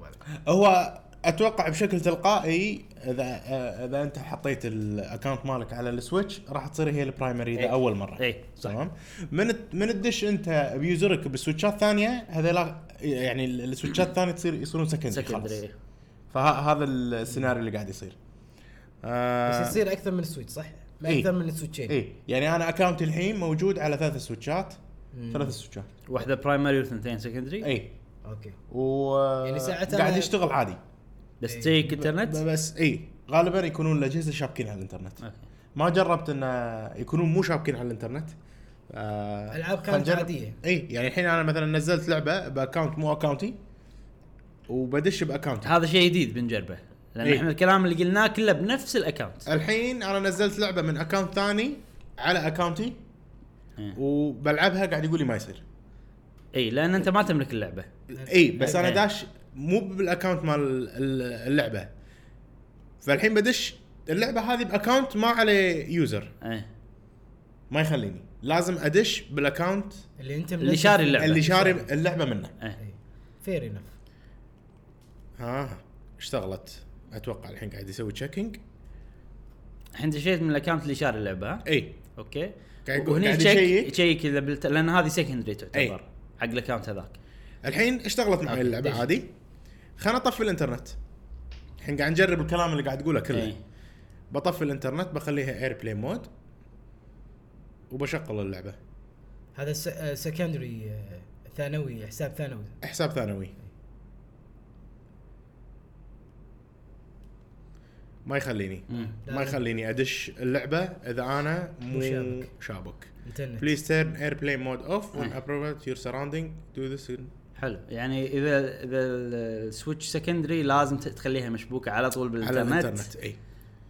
[SPEAKER 3] هو اتوقع بشكل تلقائي اذا آه، اذا انت حطيت الاكونت مالك على السويتش راح تصير هي البرايمري
[SPEAKER 2] إيه.
[SPEAKER 1] إي.
[SPEAKER 3] اذا اول مره
[SPEAKER 1] اي صح
[SPEAKER 3] تمام من الت- من الدش انت بيوزرك بالسويتشات الثانيه هذول يعني ال- السويتشات الثانيه تصير يصيرون سكندري خلاص
[SPEAKER 1] سكندري
[SPEAKER 2] إيه.
[SPEAKER 3] فهذا السيناريو اللي قاعد يصير آه
[SPEAKER 2] بس يصير اكثر من سويتش صح؟
[SPEAKER 3] إيه.
[SPEAKER 2] اكثر من سويتشين
[SPEAKER 3] اي يعني انا اكونتي الحين موجود على ثلاث سويتشات ثلاث سويتشات
[SPEAKER 1] واحده برايمري وثنتين سكندري
[SPEAKER 3] اي
[SPEAKER 2] اوكي
[SPEAKER 3] و
[SPEAKER 2] يعني ساعتها
[SPEAKER 3] قاعد
[SPEAKER 2] أنا-
[SPEAKER 3] يشتغل عادي
[SPEAKER 1] بس تيك انترنت
[SPEAKER 3] ب- بس اي غالبا يكونون الاجهزه شابكين على الانترنت
[SPEAKER 1] أوكي.
[SPEAKER 3] ما جربت انه يكونون مو شابكين على الانترنت آه
[SPEAKER 2] ألعاب
[SPEAKER 3] خل
[SPEAKER 2] كانت
[SPEAKER 3] نجرب.
[SPEAKER 2] عادية.
[SPEAKER 3] اي يعني الحين انا مثلا نزلت لعبه باكونت مو اكونتي وبدش باكونتي
[SPEAKER 1] هذا شيء جديد بنجربه لان
[SPEAKER 3] إيه.
[SPEAKER 1] احنا الكلام اللي قلناه كله بنفس الاكونت
[SPEAKER 3] الحين انا نزلت لعبه من اكونت ثاني على اكونتي
[SPEAKER 1] إيه.
[SPEAKER 3] وبلعبها قاعد يقول لي ما يصير
[SPEAKER 1] اي لان انت إيه، ما تملك اللعبه
[SPEAKER 3] اي بس انا
[SPEAKER 1] إيه.
[SPEAKER 3] داش مو بالاكونت مال ال- اللعبه فالحين بدش اللعبه هذه باكونت ما عليه يوزر
[SPEAKER 1] ايه
[SPEAKER 3] ما يخليني لازم ادش بالاكونت
[SPEAKER 2] اللي انت
[SPEAKER 1] اللي شاري اللعبة.
[SPEAKER 3] اللي شاري اللعبه منه
[SPEAKER 1] ايه
[SPEAKER 2] إيه. فير انف
[SPEAKER 3] ها اشتغلت اتوقع الحين قاعد يسوي تشيكينج
[SPEAKER 1] الحين دشيت من الاكونت اللي شاري اللعبه ها؟
[SPEAKER 3] اي
[SPEAKER 1] اوكي
[SPEAKER 3] إيه. قاعد يقول-
[SPEAKER 1] وهني
[SPEAKER 3] قاعد
[SPEAKER 1] تشيك
[SPEAKER 3] يشيك.
[SPEAKER 1] تشيك اذا بلت... لان هذه سكندري
[SPEAKER 3] إيه.
[SPEAKER 1] تعتبر حق الاكونت هذاك
[SPEAKER 3] الحين اشتغلت معي
[SPEAKER 1] أوكي،
[SPEAKER 3] اللعبه
[SPEAKER 1] دش.
[SPEAKER 3] عادي خلنا اطفي الانترنت الحين قاعد نجرب الكلام اللي قاعد تقوله كله
[SPEAKER 1] إيه.
[SPEAKER 3] بطفي الانترنت بخليها اير بلاي مود وبشغل اللعبه
[SPEAKER 2] هذا سكندري آه، ثانوي حساب ثانوي
[SPEAKER 3] حساب ثانوي ما يخليني
[SPEAKER 1] مم.
[SPEAKER 3] ما يخليني ادش اللعبه اذا انا مو
[SPEAKER 2] مو شابك. إيه.
[SPEAKER 3] شابك
[SPEAKER 2] انترنت
[SPEAKER 3] بليز تيرن اير بلاي مود اوف وان ابروفيت يور سراوندينج دو ذس
[SPEAKER 1] حلو يعني اذا اذا السويتش سكندري لازم ت- تخليها مشبوكه على طول
[SPEAKER 3] على إيه.
[SPEAKER 1] بالانترنت
[SPEAKER 3] الانترنت اي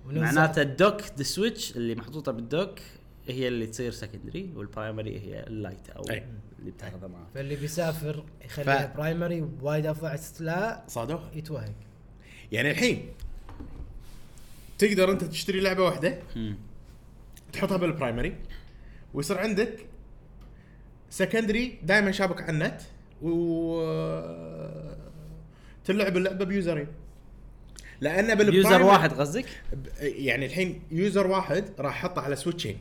[SPEAKER 2] ونفس-
[SPEAKER 1] معناته الدوك ذا سويتش اللي محطوطه بالدوك هي اللي تصير سكندري والبرايمري هي اللايت او
[SPEAKER 3] أي.
[SPEAKER 1] اللي بتاخذها معك
[SPEAKER 2] فاللي بيسافر يخليها
[SPEAKER 3] ف-
[SPEAKER 2] برايمري وايد افضل لا
[SPEAKER 3] صادوه
[SPEAKER 2] يتوهق
[SPEAKER 3] يعني الحين تقدر انت تشتري لعبه واحده
[SPEAKER 1] مم.
[SPEAKER 3] تحطها بالبرايمري ويصير عندك سكندري دائما شابك على النت و تلعب اللعبه بيوزرين لان بالبرايمري
[SPEAKER 1] يوزر واحد قصدك؟
[SPEAKER 3] ب- يعني الحين يوزر واحد راح احطه على سويتشين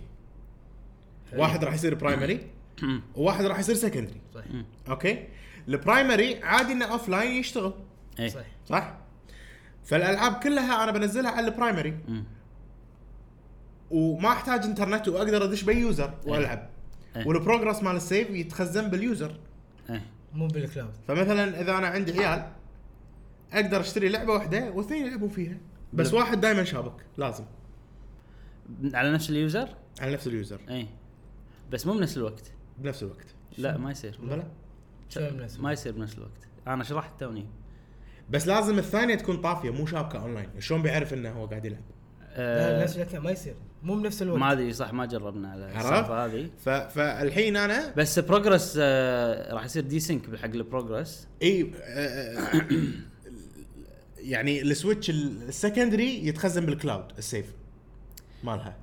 [SPEAKER 1] إيه.
[SPEAKER 3] واحد راح يصير برايمري وواحد راح يصير سكندري
[SPEAKER 2] صح
[SPEAKER 3] اوكي البرايمري عادي انه اوف لاين يشتغل
[SPEAKER 1] اي
[SPEAKER 2] صح
[SPEAKER 3] صح فالالعاب كلها انا بنزلها على البرايمري
[SPEAKER 1] مم.
[SPEAKER 3] وما احتاج انترنت واقدر ادش باي يوزر والعب
[SPEAKER 1] إيه.
[SPEAKER 3] والبروجرس مال السيف يتخزن باليوزر
[SPEAKER 1] إيه.
[SPEAKER 2] مو بالكلاود
[SPEAKER 3] فمثلا اذا انا عندي عيال اقدر اشتري لعبه واحده واثنين يلعبون فيها بس واحد دائما شابك لازم
[SPEAKER 1] على نفس اليوزر؟
[SPEAKER 3] على نفس اليوزر
[SPEAKER 1] اي بس مو بنفس الوقت
[SPEAKER 3] بنفس الوقت
[SPEAKER 1] لا ما يصير
[SPEAKER 3] بلا
[SPEAKER 2] شلون بنفس
[SPEAKER 1] ما يصير بنفس الوقت انا شرحت توني
[SPEAKER 3] بس لازم الثانيه تكون طافيه مو شابكه اونلاين شلون بيعرف انه هو قاعد يلعب
[SPEAKER 2] لا
[SPEAKER 1] آه
[SPEAKER 2] نفس الوقت لا، ما يصير مو بنفس الوقت
[SPEAKER 1] ما ادري صح ما جربنا على
[SPEAKER 3] عرفت؟
[SPEAKER 1] السالفه هذه
[SPEAKER 3] ف... فالحين انا
[SPEAKER 1] بس بروجرس آه راح يصير دي سينك حق البروجرس
[SPEAKER 3] اي آه، آه، يعني السويتش السكندري يتخزن بالكلاود السيف مالها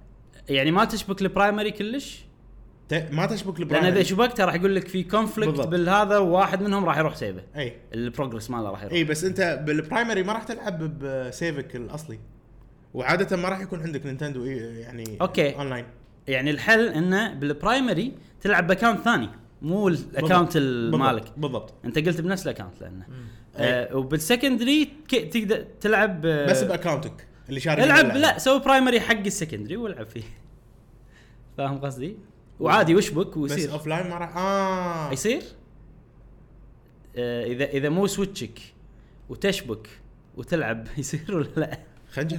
[SPEAKER 1] يعني ما تشبك البرايمري كلش
[SPEAKER 3] ت... ما تشبك
[SPEAKER 1] لان اذا
[SPEAKER 3] البرايمري
[SPEAKER 1] شبكته راح يقول لك في كونفليكت
[SPEAKER 3] بالضبط.
[SPEAKER 1] بالهذا وواحد منهم راح يروح سيبه
[SPEAKER 3] اي
[SPEAKER 1] البروجرس ماله راح يروح
[SPEAKER 3] اي بس انت بالبرايمري ما راح تلعب بسيفك الاصلي وعاده ما راح يكون عندك نينتندو إي- يعني
[SPEAKER 1] أوكي.
[SPEAKER 3] اونلاين
[SPEAKER 1] يعني الحل انه بالبرايمري تلعب باكونت ثاني مو الاكونت
[SPEAKER 3] بالضبط.
[SPEAKER 1] مالك
[SPEAKER 3] بالضبط
[SPEAKER 1] انت قلت بنفس الاكونت لانه
[SPEAKER 2] مم.
[SPEAKER 1] آه وبالسكندري ك- تقدر تلعب آه،
[SPEAKER 3] بس باكونتك اللي شاري
[SPEAKER 1] العب
[SPEAKER 3] منه
[SPEAKER 1] لا
[SPEAKER 3] اللعبة.
[SPEAKER 1] سوي برايمري حق السكندري والعب فيه فاهم قصدي؟ وعادي وشبك
[SPEAKER 3] بس
[SPEAKER 1] ويصير
[SPEAKER 3] اوف لاين ما راح اه
[SPEAKER 1] يصير آه اذا اذا مو سويتشك وتشبك وتلعب يصير ولا لا؟
[SPEAKER 3] خنجر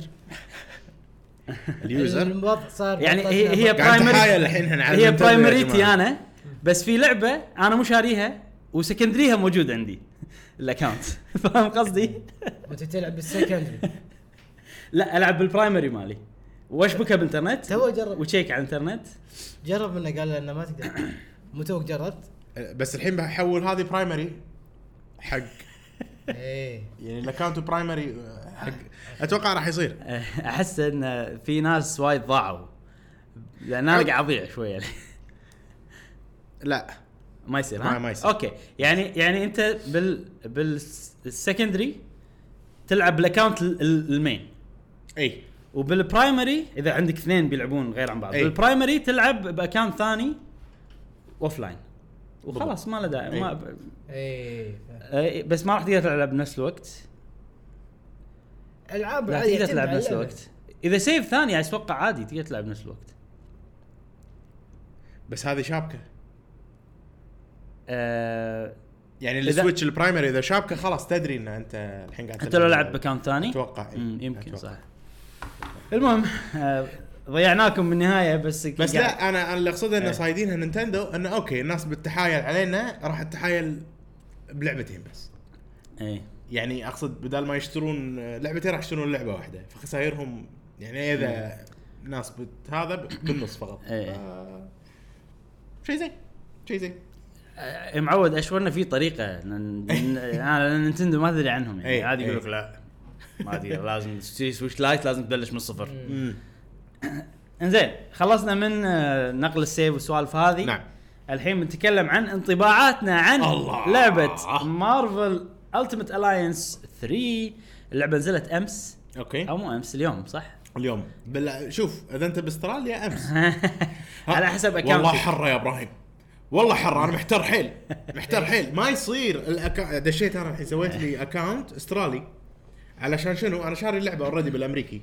[SPEAKER 3] اليوزر
[SPEAKER 2] الوضع صار
[SPEAKER 1] يعني
[SPEAKER 2] بطل-
[SPEAKER 1] هي هي
[SPEAKER 3] قاعد
[SPEAKER 1] برايمري
[SPEAKER 3] نتحايل الحين احنا على
[SPEAKER 1] هي
[SPEAKER 3] نينتندو يا
[SPEAKER 1] برايمريتي
[SPEAKER 3] جماعة.
[SPEAKER 1] انا بس في لعبه انا مو شاريها وسكندريها موجود عندي الاكونت فاهم قصدي؟
[SPEAKER 2] وانت تلعب بالسكندري
[SPEAKER 1] لا العب بالبرايمري مالي واشبكها بالانترنت
[SPEAKER 2] تو أجرب.
[SPEAKER 1] وتشيك على الانترنت
[SPEAKER 2] جرب منه قال له انه ما تقدر مو توك جربت؟
[SPEAKER 3] بس الحين بحول هذه برايمري حق
[SPEAKER 2] ايه
[SPEAKER 3] يعني الاكونت برايمري حق
[SPEAKER 1] آه.
[SPEAKER 3] اتوقع راح يصير
[SPEAKER 1] احس ان أه، في ناس وايد ضاعوا لان انا قاعد اضيع شويه
[SPEAKER 3] لا
[SPEAKER 1] ما يصير ها
[SPEAKER 3] ما- ما يصير.
[SPEAKER 1] اوكي يعني يعني انت بال بالسكندري تلعب بالاكونت ال- ال- المين
[SPEAKER 3] اي
[SPEAKER 1] وبالبرايمري اذا عندك اثنين بيلعبون غير عن بعض
[SPEAKER 3] أي.
[SPEAKER 1] بالبرايمري تلعب باكونت ثاني اوف لاين وخلاص ما له داعي
[SPEAKER 3] أي.
[SPEAKER 1] ما ب-
[SPEAKER 2] ايه
[SPEAKER 1] أي، بس ما راح تقدر تلعب بنفس الوقت
[SPEAKER 2] العاب
[SPEAKER 1] لا
[SPEAKER 2] عادية
[SPEAKER 1] تقدر تلعب
[SPEAKER 2] تلعب
[SPEAKER 1] بنفس
[SPEAKER 2] اللعبة.
[SPEAKER 1] الوقت اذا سيف ثاني اتوقع عادي تقدر تلعب بنفس الوقت
[SPEAKER 3] بس هذه شابكه
[SPEAKER 1] آه
[SPEAKER 3] يعني
[SPEAKER 1] إذا-
[SPEAKER 3] السويتش البرايمري اذا شابكه خلاص تدري ان انت الحين قاعد
[SPEAKER 1] انت
[SPEAKER 3] تلعب
[SPEAKER 1] لو لعب باكونت ثاني
[SPEAKER 3] أتوقع، إي.
[SPEAKER 1] مم، يمكن
[SPEAKER 3] أتوقع.
[SPEAKER 1] صح المهم آه، ضيعناكم بالنهايه بس
[SPEAKER 3] بس
[SPEAKER 1] قاعد-
[SPEAKER 3] لا انا انا اللي اقصده
[SPEAKER 1] إيه.
[SPEAKER 3] ان صايدينها نينتندو انه اوكي الناس بتتحايل علينا راح تتحايل بلعبتين بس
[SPEAKER 1] اي
[SPEAKER 3] يعني اقصد بدل ما يشترون آه، لعبتين راح يشترون لعبه واحده فخسائرهم يعني اذا ناس بت هذا ب- بالنص فقط
[SPEAKER 1] إيه.
[SPEAKER 3] آه، شيء زين شيء زين
[SPEAKER 1] آه، معود اشورنا في طريقه لأن- لأن- انا نينتندو ما ادري عنهم يعني
[SPEAKER 3] إي،
[SPEAKER 1] عادي يقول
[SPEAKER 3] إي.
[SPEAKER 1] لك لا ما ادري لازم تشتري سويتش لايت لازم تبلش من الصفر انزين خلصنا من آه، نقل السيف والسوالف هذه
[SPEAKER 3] نعم.
[SPEAKER 1] الحين بنتكلم عن انطباعاتنا عن
[SPEAKER 3] الله.
[SPEAKER 1] لعبه مارفل التيمت الاينس 3 اللعبه نزلت امس او
[SPEAKER 3] اوكي
[SPEAKER 1] مو امس اليوم صح؟
[SPEAKER 3] اليوم بلا شوف اذا انت باستراليا امس ها.
[SPEAKER 1] على حسب
[SPEAKER 3] والله
[SPEAKER 1] اكونتك
[SPEAKER 3] حره يا ابراهيم والله حره انا محتار حيل محتار حيل ما يصير الأكا... دشيت انا الحين سويت لي اكونت استرالي علشان شنو انا شاري اللعبه اوريدي بالامريكي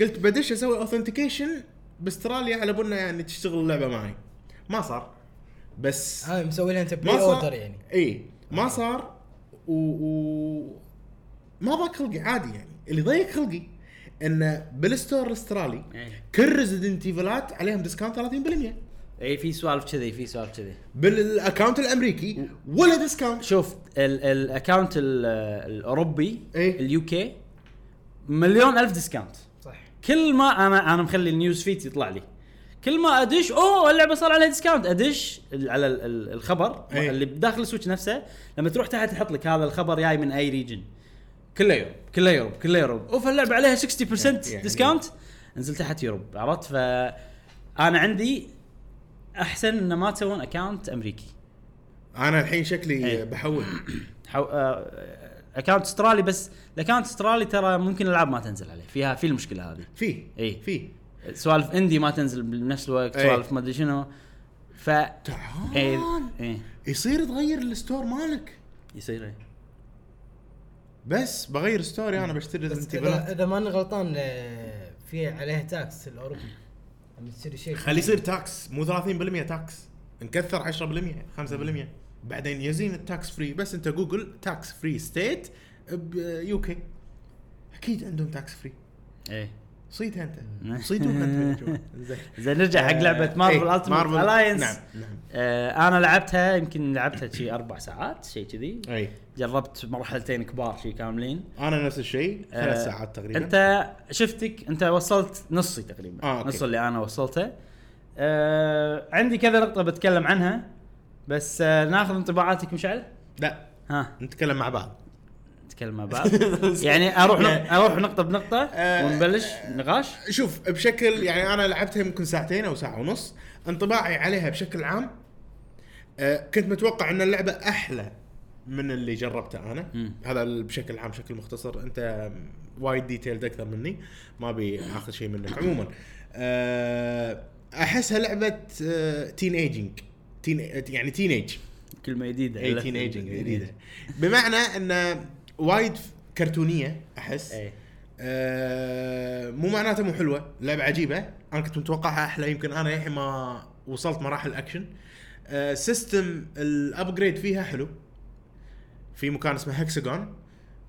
[SPEAKER 3] قلت بدش اسوي اوثنتيكيشن باستراليا على بنا يعني تشتغل اللعبه معي ما صار بس
[SPEAKER 2] هاي مسوي لها انت
[SPEAKER 3] ما
[SPEAKER 2] بري
[SPEAKER 3] صار
[SPEAKER 2] اوردر يعني
[SPEAKER 3] اي ما صار و, و... ما ضاق خلقي عادي يعني اللي ضيق خلقي انه بالستور الاسترالي
[SPEAKER 1] إيه.
[SPEAKER 3] كل ريزدنت ايفلات عليهم ديسكاونت 30%
[SPEAKER 1] اي إيه، في سوالف كذي في سوالف كذي
[SPEAKER 3] بالاكونت الامريكي ولا ديسكاونت
[SPEAKER 1] شوف ال- الاكونت ال- الاوروبي
[SPEAKER 3] إيه.
[SPEAKER 1] اليو كي مليون الف ديسكاونت
[SPEAKER 2] صح
[SPEAKER 1] كل ما انا انا مخلي النيوز فيت يطلع لي كل ما ادش اوه اللعبه صار عليها ديسكاونت ادش ال- على ال- ال- الخبر
[SPEAKER 3] إيه.
[SPEAKER 1] اللي بداخل السويتش نفسه لما تروح تحت يحط لك هذا الخبر جاي من اي ريجن كله يوروب كله يوروب كله يوروب اوف اللعبه عليها 60%
[SPEAKER 3] يعني-
[SPEAKER 1] ديسكاونت انزل تحت يوروب عرفت ف انا عندي احسن ان ما تسوون اكونت امريكي
[SPEAKER 3] انا الحين شكلي
[SPEAKER 1] إيه.
[SPEAKER 3] بحول
[SPEAKER 1] حو... آه، اكونت استرالي بس الاكونت استرالي ترى ممكن الالعاب ما تنزل عليه فيها في المشكله هذه
[SPEAKER 3] فيه
[SPEAKER 1] إيه.
[SPEAKER 3] فيه
[SPEAKER 1] سوالف اندي ما تنزل بنفس الوقت
[SPEAKER 3] إيه.
[SPEAKER 1] سوالف ما ادري شنو ف اي
[SPEAKER 3] تعال
[SPEAKER 1] اي
[SPEAKER 3] يصير تغير الستور مالك
[SPEAKER 1] يصير إيه.
[SPEAKER 3] بس بغير ستوري انا بشتري
[SPEAKER 2] بس
[SPEAKER 3] ريزدنت
[SPEAKER 2] اذا
[SPEAKER 3] ايفلات
[SPEAKER 2] إذا ماني غلطان آه، في عليها تاكس الاوروبي لما تشتري شيء
[SPEAKER 3] خليه يصير تاكس مو 30% تاكس نكثر 10% 5% بعدين يزين التاكس فري بس انت جوجل تاكس فري ستيت بيو كي اكيد عندهم تاكس فري
[SPEAKER 1] ايه
[SPEAKER 3] صيدها انت صيدوك انت يا جماعة. زين
[SPEAKER 1] زين نرجع حق لعبه
[SPEAKER 3] آه،
[SPEAKER 1] مارفل
[SPEAKER 3] إيه،
[SPEAKER 1] التيمت
[SPEAKER 3] Marvel-
[SPEAKER 1] الاينس
[SPEAKER 3] نعم نعم
[SPEAKER 1] انا آه، لعبتها يمكن لعبتها شي اربع ساعات شي كذي
[SPEAKER 3] اي
[SPEAKER 1] جربت مرحلتين كبار شي كاملين
[SPEAKER 3] انا نفس الشيء ثلاث
[SPEAKER 1] آه،
[SPEAKER 3] ساعات تقريبا
[SPEAKER 1] انت شفتك انت وصلت نصي تقريبا
[SPEAKER 3] آه، أوكي.
[SPEAKER 1] نص اللي انا وصلته آه عندي كذا نقطه بتكلم عنها بس آه ناخذ انطباعاتك مشعل
[SPEAKER 3] لا
[SPEAKER 1] ها
[SPEAKER 3] نتكلم مع بعض
[SPEAKER 1] نتكلم مع بعض يعني اروح نق- اروح نقطه بنقطه
[SPEAKER 3] آه،
[SPEAKER 1] ونبلش نقاش
[SPEAKER 3] شوف بشكل يعني انا لعبتها يمكن ساعتين او ساعه ونص انطباعي عليها بشكل عام آه، كنت متوقع ان اللعبه احلى من اللي جربته انا
[SPEAKER 1] مم.
[SPEAKER 3] هذا ال- بشكل عام بشكل مختصر انت وايد ديتيلد اكثر مني ما ابي اخذ شيء منك عموما آه، احسها لعبه تين ايجنج تين يعني تين ايج
[SPEAKER 1] كلمه جديده
[SPEAKER 3] 18 ايجنج
[SPEAKER 1] إيه.
[SPEAKER 3] جديده بمعنى انه وايد كرتونيه احس
[SPEAKER 1] ايه
[SPEAKER 3] آه، مو معناته مو حلوه لعبه عجيبه انا كنت متوقعها احلى يمكن انا للحين ما وصلت مراحل اكشن آه، سيستم الابجريد فيها حلو في مكان اسمه هكسجون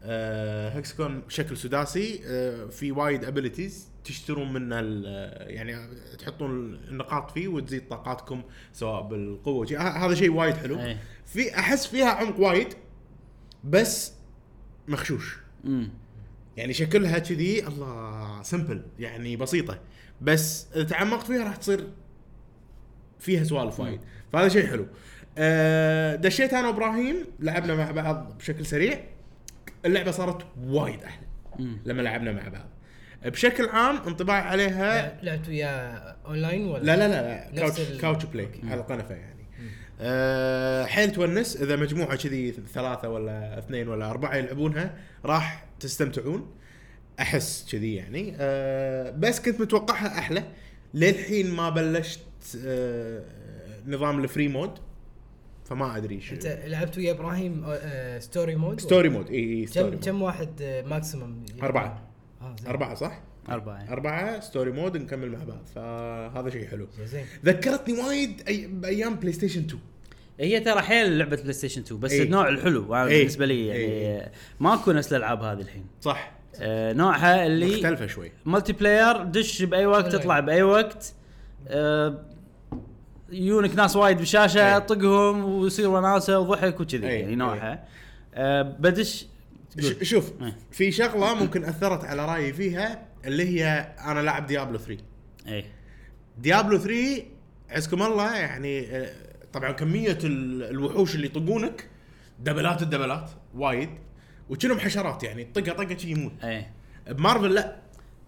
[SPEAKER 3] هكسجون شكل سداسي آه، في وايد ابيلتيز تشترون منه ال- يعني تحطون النقاط فيه وتزيد طاقاتكم سواء بالقوه شي- ه- هذا شيء وايد حلو
[SPEAKER 1] إيه.
[SPEAKER 3] في احس فيها عمق وايد بس مخشوش
[SPEAKER 1] امم
[SPEAKER 3] يعني شكلها كذي الله سمبل يعني بسيطه بس اذا تعمقت فيها راح تصير فيها سوالف وايد فهذا شيء حلو أه دشيت انا وابراهيم لعبنا مع بعض بشكل سريع اللعبه صارت وايد احلى
[SPEAKER 1] مم.
[SPEAKER 3] لما لعبنا مع بعض بشكل عام انطباعي عليها
[SPEAKER 2] لعبت وياه اونلاين ولا
[SPEAKER 3] لا لا لا, لا.
[SPEAKER 2] نفس
[SPEAKER 3] كاوتش
[SPEAKER 2] ال-
[SPEAKER 3] كاوتش بلاي على قنفه يعني أه حيل تونس اذا مجموعه كذي ثلاثه ولا اثنين ولا اربعه يلعبونها راح تستمتعون احس كذي يعني أه بس كنت متوقعها احلى للحين ما بلشت أه نظام الفري مود فما ادري شو
[SPEAKER 2] انت لعبت ويا ابراهيم آه، آه، ستوري مود
[SPEAKER 3] ستوري مود اي إي، ستوري
[SPEAKER 2] كم
[SPEAKER 3] مود
[SPEAKER 2] كم واحد آه، ماكسيمم
[SPEAKER 3] اربعه اربعه صح؟
[SPEAKER 2] نعم.
[SPEAKER 1] اربعه
[SPEAKER 3] اربعه ستوري مود نكمل مع بعض فهذا شيء حلو
[SPEAKER 2] زين
[SPEAKER 3] ذكرتني وايد أي... بايام بلاي ستيشن 2
[SPEAKER 1] هي ترى حيل لعبه بلاي ستيشن 2 بس
[SPEAKER 3] إيه.
[SPEAKER 1] النوع الحلو أنا
[SPEAKER 3] إيه.
[SPEAKER 1] بالنسبه لي يعني
[SPEAKER 3] إيه.
[SPEAKER 1] آه، ماكو نفس الالعاب هذه الحين
[SPEAKER 3] صح
[SPEAKER 1] آه، نوعها اللي
[SPEAKER 3] مختلفه شوي
[SPEAKER 1] ملتي بلاير دش باي وقت
[SPEAKER 2] أونلاين.
[SPEAKER 1] اطلع باي وقت آه، يونك ناس وايد بالشاشه
[SPEAKER 3] إيه.
[SPEAKER 1] طقهم ويصير وناسه وضحك وكذي
[SPEAKER 3] إيه.
[SPEAKER 1] يعني نوعها آه، بدش تقول.
[SPEAKER 3] ش- شوف
[SPEAKER 1] إيه.
[SPEAKER 3] في شغله ممكن اثرت على رايي فيها اللي هي انا لاعب ديابلو 3
[SPEAKER 1] ايه
[SPEAKER 3] ديابلو 3 عزكم الله يعني آه، طبعا كميه ال- الوحوش اللي يطقونك دبلات الدبلات وايد وكلهم حشرات يعني طقه طقه شي يموت
[SPEAKER 1] ايه
[SPEAKER 3] بمارفل لا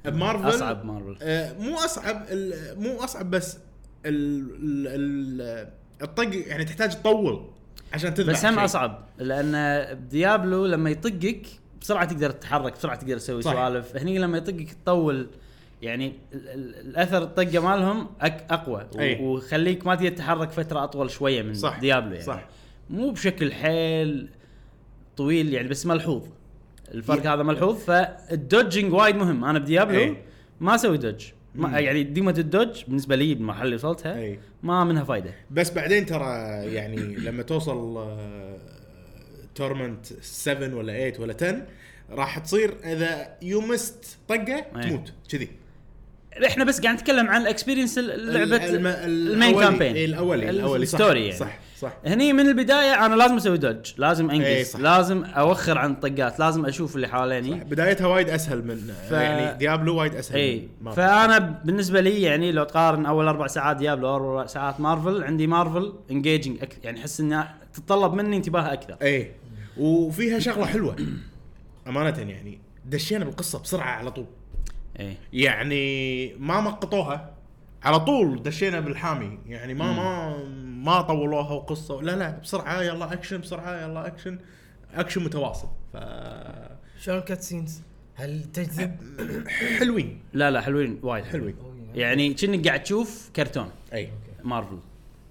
[SPEAKER 3] بمارفل
[SPEAKER 1] اصعب مارفل
[SPEAKER 3] آه، مو اصعب ال- مو اصعب بس ال- ال- ال- الطق يعني تحتاج تطول عشان تذبح
[SPEAKER 1] بس هم
[SPEAKER 3] شيء.
[SPEAKER 1] اصعب لان بديابلو لما يطقك بسرعه تقدر تتحرك بسرعه تقدر تسوي
[SPEAKER 3] صح.
[SPEAKER 1] سوالف هني لما يطقك تطول يعني ال- ال- الاثر الطقه مالهم أك اقوى و-
[SPEAKER 3] أي.
[SPEAKER 1] وخليك ما تقدر تتحرك فتره اطول شويه من
[SPEAKER 3] إيه. صح.
[SPEAKER 1] ديابلو يعني
[SPEAKER 3] صح.
[SPEAKER 1] مو بشكل حيل طويل يعني بس ملحوظ الفرق هذا ملحوظ فالدوجنج وايد مهم انا بديابلو
[SPEAKER 3] إيه.
[SPEAKER 1] ما اسوي دوج
[SPEAKER 3] مم.
[SPEAKER 1] ما يعني ديمة الدوج بالنسبه لي بالمرحله اللي وصلتها
[SPEAKER 3] إيه.
[SPEAKER 1] ما منها فايده
[SPEAKER 3] بس بعدين ترى يعني لما توصل تورمنت 7 ولا 8 ولا 10 راح تصير اذا يومست طقه تموت كذي
[SPEAKER 1] احنا بس قاعد نتكلم عن الاكسبيرينس لعبه
[SPEAKER 3] الم-
[SPEAKER 1] المين
[SPEAKER 3] الأولي-
[SPEAKER 1] كامبين
[SPEAKER 3] إيه، الاولي الاولي صح
[SPEAKER 1] الستوري يعني
[SPEAKER 3] صح صح
[SPEAKER 1] هني من البدايه انا لازم اسوي دوج لازم
[SPEAKER 3] إيه،
[SPEAKER 1] انجز
[SPEAKER 3] صح.
[SPEAKER 1] لازم اوخر عن الطقات لازم اشوف اللي حواليني
[SPEAKER 3] بدايتها وايد اسهل من ف... يعني ديابلو وايد اسهل
[SPEAKER 1] اي
[SPEAKER 3] من مارفل.
[SPEAKER 1] فانا بالنسبه لي يعني لو تقارن اول اربع ساعات ديابلو أو اربع ساعات مارفل عندي مارفل انجيجنج أك... يعني احس انها تتطلب مني انتباه اكثر
[SPEAKER 3] اي إيه. وفيها شغله حلوه امانه يعني دشينا بالقصه بسرعه على طول إيه.
[SPEAKER 1] اي
[SPEAKER 3] يعني ما مقطوها على طول دشينا بالحامي يعني ما ما ما طولوها وقصه لا لا بسرعه يلا اكشن بسرعه يلا اكشن اكشن متواصل ف
[SPEAKER 2] شلون كات سينز؟ هل تجذب؟
[SPEAKER 3] حلوين
[SPEAKER 1] لا لا حلوين وايد
[SPEAKER 3] حلوين
[SPEAKER 1] يعني كأنك قاعد تشوف كرتون
[SPEAKER 3] اي
[SPEAKER 1] مارفل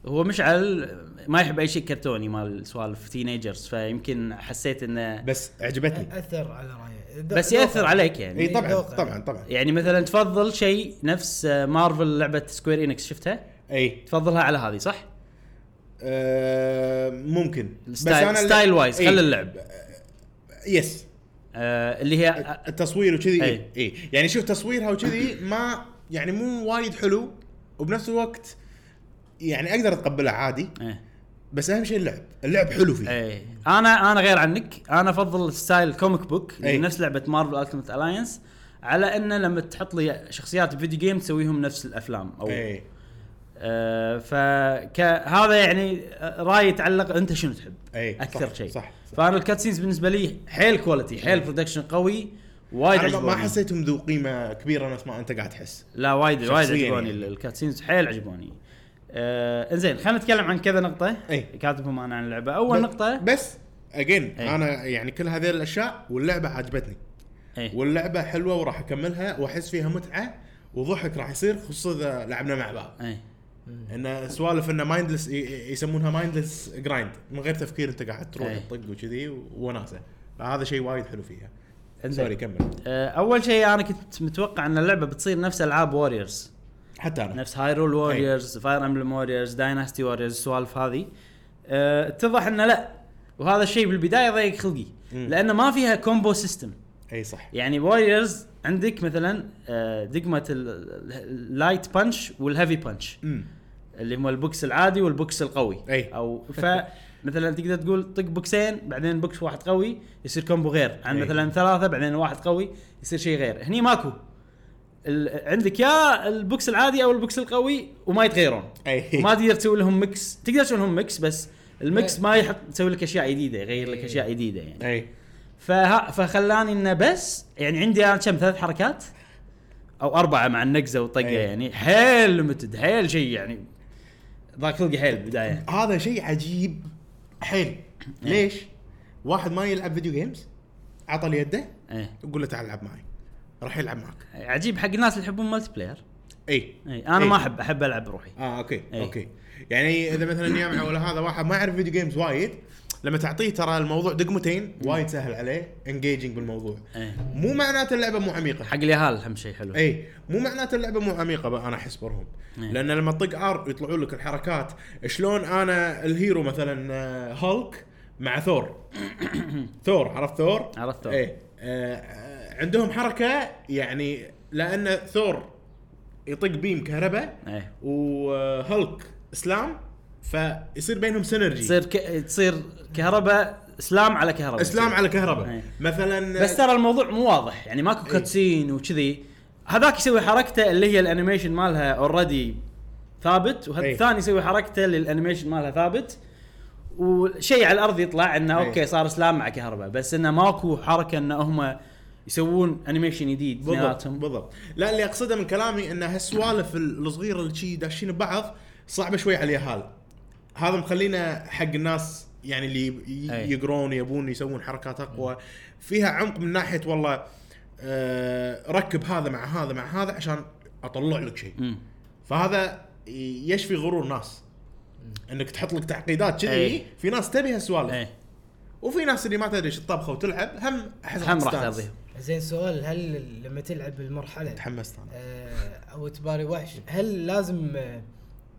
[SPEAKER 1] هو مشعل ما يحب اي شيء كرتوني مال سوالف تينيجرز فيمكن حسيت انه
[SPEAKER 3] بس عجبتني
[SPEAKER 2] اثر على رايه
[SPEAKER 1] إيه. بس ياثر عليك يعني
[SPEAKER 3] اي طبعا
[SPEAKER 2] ذوقها.
[SPEAKER 3] طبعا طبعا
[SPEAKER 1] يعني مثلا تفضل شيء نفس آه، مارفل لعبه سكوير انكس شفتها
[SPEAKER 3] اي
[SPEAKER 1] تفضلها على هذه صح؟
[SPEAKER 3] آه، ممكن
[SPEAKER 1] ستايل- ستايل وايز،
[SPEAKER 3] إي.
[SPEAKER 1] خلي اللعب.
[SPEAKER 3] يس
[SPEAKER 1] آه اللي هي
[SPEAKER 3] التصوير وكذي اي
[SPEAKER 1] أي.
[SPEAKER 3] إيه. يعني شوف تصويرها وكذي ما يعني مو وايد حلو وبنفس الوقت يعني اقدر اتقبله عادي
[SPEAKER 1] آه.
[SPEAKER 3] بس اهم شيء اللعب اللعب حلو فيه
[SPEAKER 1] ايه انا انا غير عنك انا افضل ستايل كوميك بوك
[SPEAKER 3] إيه.
[SPEAKER 1] اللي نفس لعبه مارفل التيمت الاينس على انه لما تحط لي شخصيات فيديو جيم تسويهم نفس الافلام او ايه.
[SPEAKER 3] اي
[SPEAKER 1] آه فهذا يعني راي يتعلق انت شنو تحب
[SPEAKER 3] إيه، صح،
[SPEAKER 1] اكثر شيء
[SPEAKER 3] صح، صح.
[SPEAKER 1] فانا الكاتسينز بالنسبه لي حيل كواليتي حيل برودكشن قوي وايد
[SPEAKER 3] انا ما- ما
[SPEAKER 1] عجبوني
[SPEAKER 3] حسيتهم ذو قيمه كبيره نفس ما انت قاعد تحس
[SPEAKER 1] لا وايد وايد
[SPEAKER 3] شخصياً
[SPEAKER 1] عجبوني
[SPEAKER 3] يعني.
[SPEAKER 1] يعني. الكاتسينز حيل عجبوني آه انزين خلينا نتكلم عن كذا نقطه
[SPEAKER 3] إيه.
[SPEAKER 1] كاتبهم انا عن اللعبه اول
[SPEAKER 3] ب-
[SPEAKER 1] نقطه
[SPEAKER 3] بس اجين
[SPEAKER 1] إيه.
[SPEAKER 3] انا يعني كل هذه الاشياء واللعبه عجبتني
[SPEAKER 1] إيه.
[SPEAKER 3] واللعبه حلوه وراح اكملها واحس فيها متعه وضحك راح يصير خصوصا اذا لعبنا مع بعض
[SPEAKER 1] ايه
[SPEAKER 3] ان سوالف انه مايندلس يسمونها مايندلس جرايند من غير تفكير انت قاعد تروح
[SPEAKER 1] أي.
[SPEAKER 3] تطق وكذي وناسه فهذا شيء وايد حلو فيها
[SPEAKER 1] إنزين.
[SPEAKER 3] سوري كمل
[SPEAKER 1] آه، اول شيء انا كنت متوقع ان اللعبه بتصير نفس العاب ووريرز
[SPEAKER 3] حتى انا
[SPEAKER 1] نفس هايرول ووريرز فاير امبلم ووريرز دايناستي ووريرز السوالف هذه آه، اتضح انه لا وهذا الشيء بالبدايه ضيق خلقي
[SPEAKER 3] مم.
[SPEAKER 1] لانه ما فيها كومبو سيستم
[SPEAKER 3] اي صح
[SPEAKER 1] يعني ووريرز عندك مثلا آه، دقمه اللايت بانش والهيفي بانش
[SPEAKER 3] امم
[SPEAKER 1] اللي هم البوكس العادي والبوكس القوي
[SPEAKER 3] أي.
[SPEAKER 1] او ف مثلا تقدر تقول طق بوكسين بعدين بوكس واحد قوي يصير كومبو غير عن
[SPEAKER 3] أي.
[SPEAKER 1] مثلا ثلاثه بعدين واحد قوي يصير شيء غير هني ماكو ال... عندك يا البوكس العادي او البوكس القوي وما يتغيرون
[SPEAKER 3] أي.
[SPEAKER 1] ما تقدر تسوي لهم ميكس تقدر تسوي لهم ميكس بس الميكس ما يحط تسوي لك اشياء جديده يغير لك
[SPEAKER 2] أي.
[SPEAKER 1] اشياء جديده يعني
[SPEAKER 3] اي
[SPEAKER 1] فه... فخلاني انه بس يعني عندي انا كم ثلاث حركات او اربعه مع النقزه والطقه
[SPEAKER 3] أي.
[SPEAKER 1] يعني حيل ليمتد حيل شيء يعني ضاق خلقي حيل بالبدايه
[SPEAKER 3] هذا شيء عجيب
[SPEAKER 1] إيه.
[SPEAKER 3] حيل ليش؟ واحد ما يلعب فيديو جيمز عطى لي يده
[SPEAKER 1] ايه
[SPEAKER 3] وقول له تعال العب معي راح يلعب معك
[SPEAKER 1] عجيب حق الناس اللي يحبون ملتي بلاير
[SPEAKER 3] اي
[SPEAKER 1] اي انا
[SPEAKER 3] إيه.
[SPEAKER 1] ما احب احب العب بروحي
[SPEAKER 3] اه اوكي
[SPEAKER 1] أي.
[SPEAKER 3] اوكي يعني اذا مثلا يا ولا هذا واحد ما يعرف فيديو جيمز وايد لما تعطيه ترى الموضوع دقمتين وايد سهل عليه انجيجنج بالموضوع
[SPEAKER 1] ايه
[SPEAKER 3] مو معناته اللعبه مو عميقه
[SPEAKER 1] حق اليهال اهم شيء حلو
[SPEAKER 3] اي مو معناته اللعبه مو عميقه بقى انا احس برهم
[SPEAKER 1] إيه.
[SPEAKER 3] لان لما تطق ار يطلعوا لك الحركات شلون انا الهيرو مثلا آه، هولك مع ثور ثور عرفت ثور؟
[SPEAKER 1] عرفت ثور.
[SPEAKER 3] اي آه، عندهم حركه يعني لان ثور يطق بيم كهرباء
[SPEAKER 1] ايه
[SPEAKER 3] وهولك اسلام فيصير بينهم سينرجي
[SPEAKER 1] تصير ك... تصير كهرباء اسلام على كهرباء
[SPEAKER 3] اسلام على كهرباء
[SPEAKER 1] إيه.
[SPEAKER 3] مثلا
[SPEAKER 1] بس ترى الموضوع مو واضح يعني ماكو
[SPEAKER 3] إيه.
[SPEAKER 1] كاتسين وكذي هذاك يسوي حركته اللي هي الانيميشن مالها اوريدي ثابت وهذا
[SPEAKER 3] أي.
[SPEAKER 1] الثاني يسوي حركته اللي الانيميشن مالها ثابت وشيء على الارض يطلع انه
[SPEAKER 3] أي.
[SPEAKER 1] اوكي صار اسلام مع كهرباء بس انه ماكو حركه انه هم يسوون انيميشن جديد
[SPEAKER 3] بالضبط
[SPEAKER 1] بيناتهم
[SPEAKER 3] بالضبط لا اللي اقصده من كلامي ان هالسوالف ال- الصغيره اللي شي داشين ببعض صعبه شوي على اليهال هذا مخلينا حق الناس يعني اللي
[SPEAKER 1] أي.
[SPEAKER 3] ي- يقرون يبون يسوون حركات اقوى فيها عمق من ناحيه والله آه ركب هذا مع هذا مع هذا عشان اطلع لك شيء
[SPEAKER 1] مم.
[SPEAKER 3] فهذا ي- يشفي غرور ناس انك تحط لك تعقيدات
[SPEAKER 1] أي.
[SPEAKER 3] كذي في ناس تبي هالسوالف
[SPEAKER 1] ايه
[SPEAKER 3] وفي ناس اللي ما تدري ايش الطبخه وتلعب هم احس
[SPEAKER 1] هم راح
[SPEAKER 3] تستانس.
[SPEAKER 1] ترضيهم
[SPEAKER 2] زين سؤال هل لما تلعب بالمرحله
[SPEAKER 3] تحمست انا
[SPEAKER 2] آه، او تباري وحش هل لازم آه،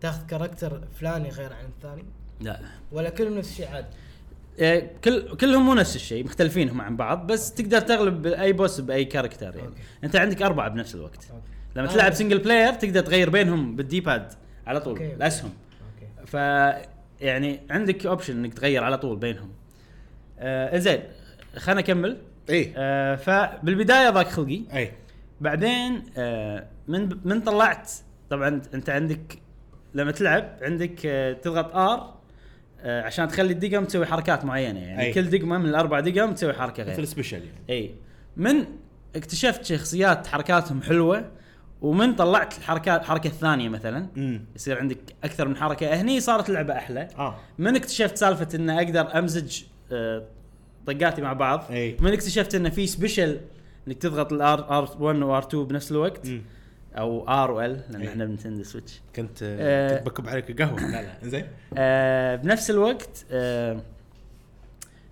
[SPEAKER 2] تاخذ كاركتر فلاني غير عن الثاني
[SPEAKER 1] لا
[SPEAKER 2] ولا كلهم نفس الشيء عادي
[SPEAKER 1] إيه، كل كلهم مو نفس الشيء مختلفين هم عن بعض بس تقدر تغلب اي بوس باي كاركتر يعني
[SPEAKER 2] أوكي.
[SPEAKER 1] انت عندك اربعه بنفس الوقت
[SPEAKER 2] أوكي.
[SPEAKER 1] لما
[SPEAKER 2] آه.
[SPEAKER 1] تلعب سنجل بلاير تقدر تغير بينهم بالدي باد على طول
[SPEAKER 2] أوكي، أوكي.
[SPEAKER 1] الاسهم
[SPEAKER 2] اوكي
[SPEAKER 1] ف يعني عندك اوبشن انك تغير على طول بينهم. آه زين خلنا اكمل
[SPEAKER 3] اي
[SPEAKER 1] آه فبالبدايه ضاق خلقي
[SPEAKER 3] اي
[SPEAKER 1] بعدين آه من من طلعت طبعا انت عندك لما تلعب عندك آه تضغط ار آه عشان تخلي الدقم تسوي حركات معينه يعني
[SPEAKER 3] أي.
[SPEAKER 1] أي. كل دقمه من الاربع دقم تسوي حركه غير
[SPEAKER 3] مثل سبيشال يعني
[SPEAKER 1] اي من اكتشفت شخصيات حركاتهم حلوه ومن طلعت الحركات الحركه الثانيه مثلا
[SPEAKER 3] امم
[SPEAKER 1] يصير عندك اكثر من حركه هني صارت اللعبه احلى
[SPEAKER 3] اه
[SPEAKER 1] من اكتشفت سالفه ان اقدر امزج آه، طقاتي مع بعض
[SPEAKER 3] أي.
[SPEAKER 1] من اكتشفت ان في سبيشل انك تضغط الار ار 1 وار 2 بنفس الوقت
[SPEAKER 3] مم.
[SPEAKER 1] او ار وال لان
[SPEAKER 3] أي.
[SPEAKER 1] احنا بنتندو سويتش
[SPEAKER 3] كنت
[SPEAKER 1] آه.
[SPEAKER 3] كنت بكب عليك قهوه لا لا زين
[SPEAKER 1] آه بنفس الوقت آه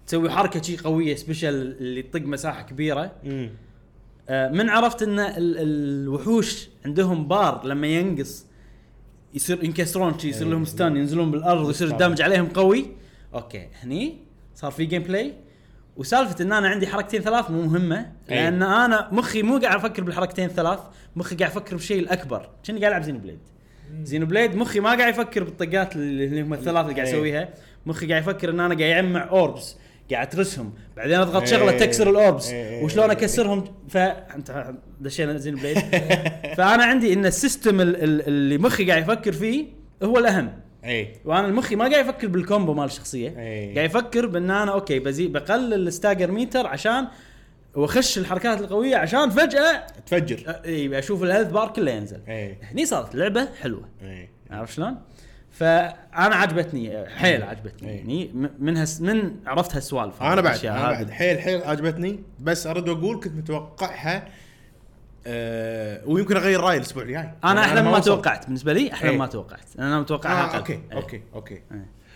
[SPEAKER 1] تسوي حركه شي قويه سبيشل اللي تطق مساحه كبيره
[SPEAKER 3] امم
[SPEAKER 1] آه، من عرفت ان ال- الوحوش عندهم بار لما ينقص يصير ينكسرون شي يصير
[SPEAKER 3] أي،
[SPEAKER 1] لهم ستان ينزلون بالارض ويصير
[SPEAKER 3] بالطبع.
[SPEAKER 1] الدمج عليهم قوي اوكي هني صار في جيم بلاي وسالفه ان انا عندي حركتين ثلاث مو مهمه
[SPEAKER 3] أي.
[SPEAKER 1] لان انا مخي مو قاعد افكر بالحركتين الثلاث مخي قاعد افكر بالشيء الاكبر كأني قاعد العب زينو بليد زينو بليد مخي ما قاعد يفكر بالطقات اللي اللي هم الثلاث اللي قاعد
[SPEAKER 3] أي.
[SPEAKER 1] اسويها مخي قاعد يفكر ان انا قاعد اجمع اوربس قاعد اترسهم بعدين اضغط
[SPEAKER 3] أي.
[SPEAKER 1] شغله تكسر الاوربس
[SPEAKER 3] أي. أي.
[SPEAKER 1] وشلون اكسرهم فانت دشينا زين بليد فانا عندي ان السيستم ال- ال- اللي مخي قاعد يفكر فيه هو الاهم
[SPEAKER 3] اي
[SPEAKER 1] وانا المخي ما قاعد يفكر بالكومبو مال الشخصيه
[SPEAKER 3] أي.
[SPEAKER 1] قاعد يفكر بان انا اوكي بزي بقلل الستاجر ميتر عشان واخش الحركات القويه عشان فجاه
[SPEAKER 3] تفجر إيه.
[SPEAKER 1] أ- إي، اشوف الهيلث بار كله ينزل
[SPEAKER 3] اي
[SPEAKER 1] هني صارت لعبه حلوه
[SPEAKER 3] اي
[SPEAKER 1] عرفت شلون؟ فانا عجبتني حيل عجبتني
[SPEAKER 3] أي.
[SPEAKER 1] يعني م- من هس من عرفت هالسوالف
[SPEAKER 3] انا بعد
[SPEAKER 1] الأشياء
[SPEAKER 3] انا
[SPEAKER 1] هذه.
[SPEAKER 3] بعد حيل حيل عجبتني بس ارد واقول كنت متوقعها أه ويمكن اغير رايي الاسبوع الجاي
[SPEAKER 1] انا احلى ما
[SPEAKER 3] يعني وصلت.
[SPEAKER 1] توقعت بالنسبه لي احلى
[SPEAKER 3] إيه.
[SPEAKER 1] ما توقعت انا متوقعها
[SPEAKER 3] آه
[SPEAKER 1] اقل
[SPEAKER 3] اوكي
[SPEAKER 1] إيه.
[SPEAKER 3] اوكي اوكي
[SPEAKER 1] إيه.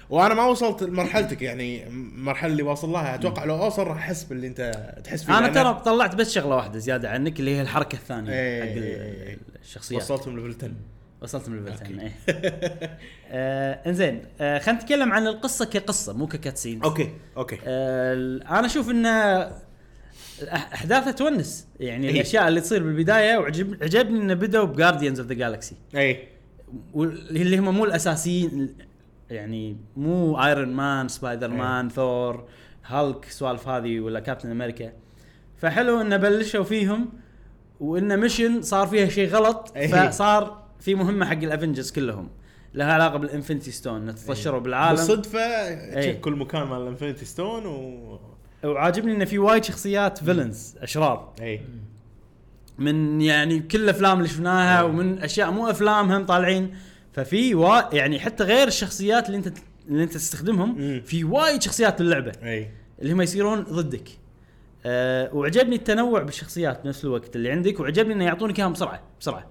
[SPEAKER 3] وانا ما وصلت لمرحلتك يعني المرحله اللي واصل لها اتوقع لو اوصل راح احس باللي انت تحس فيه
[SPEAKER 1] انا
[SPEAKER 3] لأن
[SPEAKER 1] ترى طلعت بس شغله واحده زياده عنك اللي هي الحركه الثانيه
[SPEAKER 3] يعني إيه.
[SPEAKER 1] حق ال- الشخصيات وصلت
[SPEAKER 3] وصلتهم ليفل 10
[SPEAKER 1] وصلت من ليفل
[SPEAKER 3] أوكي.
[SPEAKER 1] 10 إيه. آه، انزين آه، خلينا نتكلم عن القصه كقصه مو ككاتسين آه،
[SPEAKER 3] اوكي
[SPEAKER 1] إيه.
[SPEAKER 3] اوكي
[SPEAKER 1] انا اشوف ان الأح- احداثها تونس يعني
[SPEAKER 3] إيه.
[SPEAKER 1] الاشياء اللي تصير بالبدايه وعجب عجبني انه بدأوا بجارديانز اوف ذا جالكسي
[SPEAKER 3] اي
[SPEAKER 1] اللي هم مو الاساسيين يعني مو ايرون مان سبايدر مان ثور هالك سوالف هذه ولا كابتن امريكا فحلو انه بلشوا فيهم وانه ميشن صار فيها شيء غلط
[SPEAKER 3] إيه.
[SPEAKER 1] فصار في مهمه حق الافنجرز كلهم لها علاقه بالانفنتي ستون
[SPEAKER 3] إيه.
[SPEAKER 1] تطشروا بالعالم إيه.
[SPEAKER 3] بالصدفه
[SPEAKER 1] إي.
[SPEAKER 3] تشيك كل مكان مال الانفينيتي ستون و
[SPEAKER 1] وعاجبني انه في وايد شخصيات فيلنز اشرار
[SPEAKER 3] اي
[SPEAKER 1] من يعني كل الافلام اللي شفناها
[SPEAKER 3] آه.
[SPEAKER 1] ومن اشياء مو افلام هم طالعين ففي وا... يعني حتى غير الشخصيات اللي انت اللي انت تستخدمهم
[SPEAKER 3] مم.
[SPEAKER 1] في وايد شخصيات باللعبه
[SPEAKER 3] اي
[SPEAKER 1] اللي هم يصيرون ضدك. أه وعجبني التنوع بالشخصيات بنفس الوقت اللي عندك وعجبني انه يعطونك اياهم بسرعه بسرعه.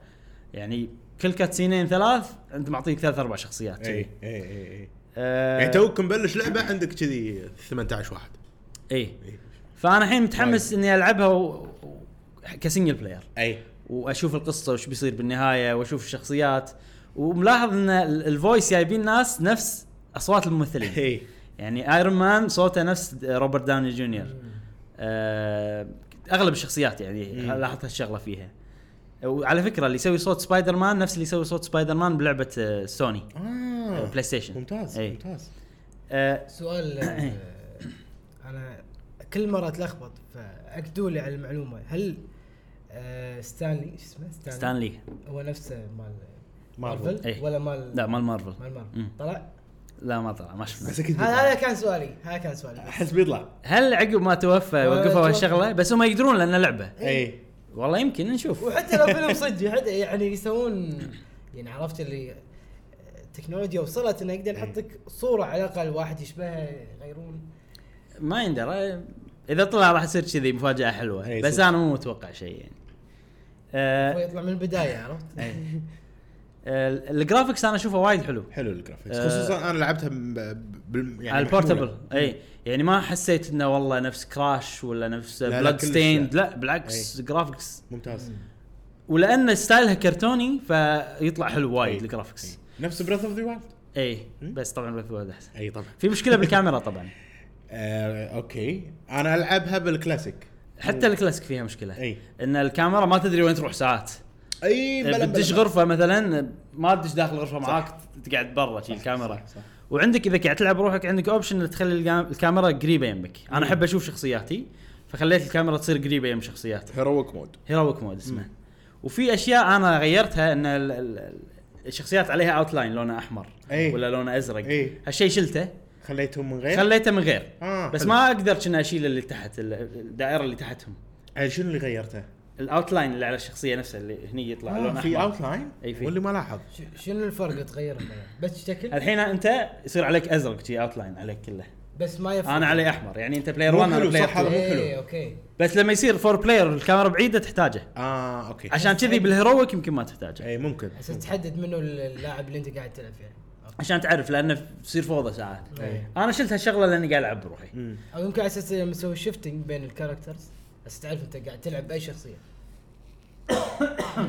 [SPEAKER 1] يعني كل كاتسينين ثلاث انت معطيك ثلاث اربع شخصيات.
[SPEAKER 3] اي اي اي اي
[SPEAKER 1] أه
[SPEAKER 3] إيه، يعني توك مبلش لعبه عندك كذي 18 واحد
[SPEAKER 1] اي
[SPEAKER 3] إي.
[SPEAKER 1] فانا الحين متحمس اني العبها و... و... كسنجل بلاير.
[SPEAKER 3] اي
[SPEAKER 1] إيه. واشوف القصه وش بيصير بالنهايه واشوف الشخصيات وملاحظ ان ال- الفويس جايبين ناس نفس اصوات الممثلين
[SPEAKER 3] اي
[SPEAKER 1] يعني ايرون مان صوته نفس د- روبرت داوني جونيور آه، اغلب الشخصيات يعني
[SPEAKER 3] مم.
[SPEAKER 1] لاحظت هالشغله فيها وعلى فكره اللي يسوي صوت سبايدر مان نفس اللي يسوي صوت سبايدر مان بلعبه آه، إيه. سوني
[SPEAKER 3] اه
[SPEAKER 1] بلاي ستيشن.
[SPEAKER 3] ممتاز
[SPEAKER 1] إي.
[SPEAKER 3] ممتاز
[SPEAKER 1] آه،
[SPEAKER 2] سؤال آه، انا كل مره اتلخبط فاكدوا لي على المعلومه هل آه، ستانلي ايش اسمه ستانلي,
[SPEAKER 1] ستانلي
[SPEAKER 2] هو نفسه مال
[SPEAKER 3] مارفل.
[SPEAKER 2] مارفل
[SPEAKER 1] إيه.
[SPEAKER 2] ولا مال
[SPEAKER 1] لا مال مارفل
[SPEAKER 2] مال مارفل
[SPEAKER 1] مم.
[SPEAKER 2] طلع
[SPEAKER 1] لا ما طلع ما شفنا
[SPEAKER 3] بس اكيد
[SPEAKER 2] هذا هذا
[SPEAKER 3] بيطلع.
[SPEAKER 2] كان سؤالي هذا كان سؤالي
[SPEAKER 3] احس بيطلع
[SPEAKER 1] هل عقب ما توفى وقفوا
[SPEAKER 2] توفى.
[SPEAKER 1] هالشغله بس هم يقدرون لان لعبه
[SPEAKER 3] اي
[SPEAKER 1] والله يمكن نشوف
[SPEAKER 2] وحتى لو فيلم صدق حتى يعني يسوون يعني عرفت اللي التكنولوجيا وصلت انه يقدر يحط لك صوره على الاقل واحد يشبهها يغيرون
[SPEAKER 1] ما يندرى اذا طلع راح يصير كذي مفاجاه حلوه
[SPEAKER 3] إي
[SPEAKER 1] بس
[SPEAKER 3] إيه، صدق.
[SPEAKER 1] انا مو متوقع شيء يعني
[SPEAKER 2] هو
[SPEAKER 1] آه
[SPEAKER 2] يطلع من البدايه عرفت؟
[SPEAKER 1] إيه. آه، الجرافكس انا اشوفه وايد حلو
[SPEAKER 3] حلو الجرافيكس
[SPEAKER 1] آه،
[SPEAKER 3] خصوصا انا لعبتها ب- ب- بال- يعني
[SPEAKER 1] على البورتبل
[SPEAKER 3] محمولة.
[SPEAKER 1] اي يعني ما حسيت انه والله نفس كراش ولا نفس
[SPEAKER 3] لا،
[SPEAKER 1] بلاد
[SPEAKER 3] كلش
[SPEAKER 1] ستيند
[SPEAKER 3] لا. إيه.
[SPEAKER 1] لا بالعكس جرافكس
[SPEAKER 3] ممتاز
[SPEAKER 1] ولان ستايلها كرتوني فيطلع حلو وايد
[SPEAKER 3] أي.
[SPEAKER 1] الجرافكس
[SPEAKER 3] أي. نفس بريث اوف ذا وايلد
[SPEAKER 1] اي بس طبعا Breath of the Wild احسن
[SPEAKER 3] اي طبعا
[SPEAKER 1] في مشكله بالكاميرا طبعا
[SPEAKER 3] آه، اوكي انا العبها بالكلاسيك
[SPEAKER 1] حتى الكلاسيك فيها مشكله
[SPEAKER 3] أي.
[SPEAKER 1] ان البكاميرا ما تدري وين تروح ساعات
[SPEAKER 3] اي بلا-
[SPEAKER 1] بتدش
[SPEAKER 3] بلا-
[SPEAKER 1] غرفه مثلا ما تدش داخل غرفه معاك تقعد برا شي الكاميرا
[SPEAKER 3] صح، صح.
[SPEAKER 1] وعندك اذا قاعد تلعب روحك عندك اوبشن انك تخلي الجا- الكاميرا قريبه يمك انا احب اشوف شخصياتي فخليت الكاميرا تصير قريبه يم شخصياتي
[SPEAKER 3] هيرويك مود
[SPEAKER 1] هيرويك مود اسمه وفي اشياء انا غيرتها ان ال- ال- الشخصيات عليها اوتلاين لونه احمر
[SPEAKER 3] أي.
[SPEAKER 1] ولا لونه ازرق
[SPEAKER 3] أي.
[SPEAKER 1] هالشيء شلته
[SPEAKER 3] خليتهم من غير
[SPEAKER 1] خليته من غير
[SPEAKER 3] إيه. آه،
[SPEAKER 1] بس
[SPEAKER 3] حلو.
[SPEAKER 1] ما اقدر كنا اشيل اللي تحت ال- الدائره اللي تحتهم
[SPEAKER 3] آه، شنو اللي غيرته؟
[SPEAKER 1] الاوتلاين اللي على الشخصيه نفسها اللي هني يطلع لون
[SPEAKER 3] آه في
[SPEAKER 1] احمر
[SPEAKER 3] اوت لاين
[SPEAKER 1] أي في.
[SPEAKER 3] واللي ما لاحظ
[SPEAKER 2] ش- شنو الفرق تغير الملامح؟ بس شكل
[SPEAKER 1] الحين انت يصير عليك ازرق شي اوتلاين عليك كله
[SPEAKER 2] بس ما يفرق
[SPEAKER 1] انا علي احمر يعني انت بلاير
[SPEAKER 3] مو
[SPEAKER 1] 1 انا
[SPEAKER 3] حلو،
[SPEAKER 1] بلاير
[SPEAKER 3] صح هذا.
[SPEAKER 1] 2
[SPEAKER 2] إيه،
[SPEAKER 3] حلو.
[SPEAKER 2] اوكي
[SPEAKER 1] بس لما يصير فور بلاير الكاميرا بعيده تحتاجه
[SPEAKER 3] اه اوكي
[SPEAKER 1] عشان كذي بالهيرويك يمكن ما تحتاجه
[SPEAKER 3] اي ممكن
[SPEAKER 2] عشان تحدد منو اللاعب اللي انت قاعد تلعب فيه أوكي.
[SPEAKER 1] عشان تعرف لانه تصير فوضى ساعات
[SPEAKER 2] إيه.
[SPEAKER 1] انا شلت هالشغله لاني قاعد العب بروحي
[SPEAKER 3] مم.
[SPEAKER 2] او يمكن على اساس لما تسوي شيفتنج بين الكاركترز بس تعرف انت قاعد تلعب باي شخصيه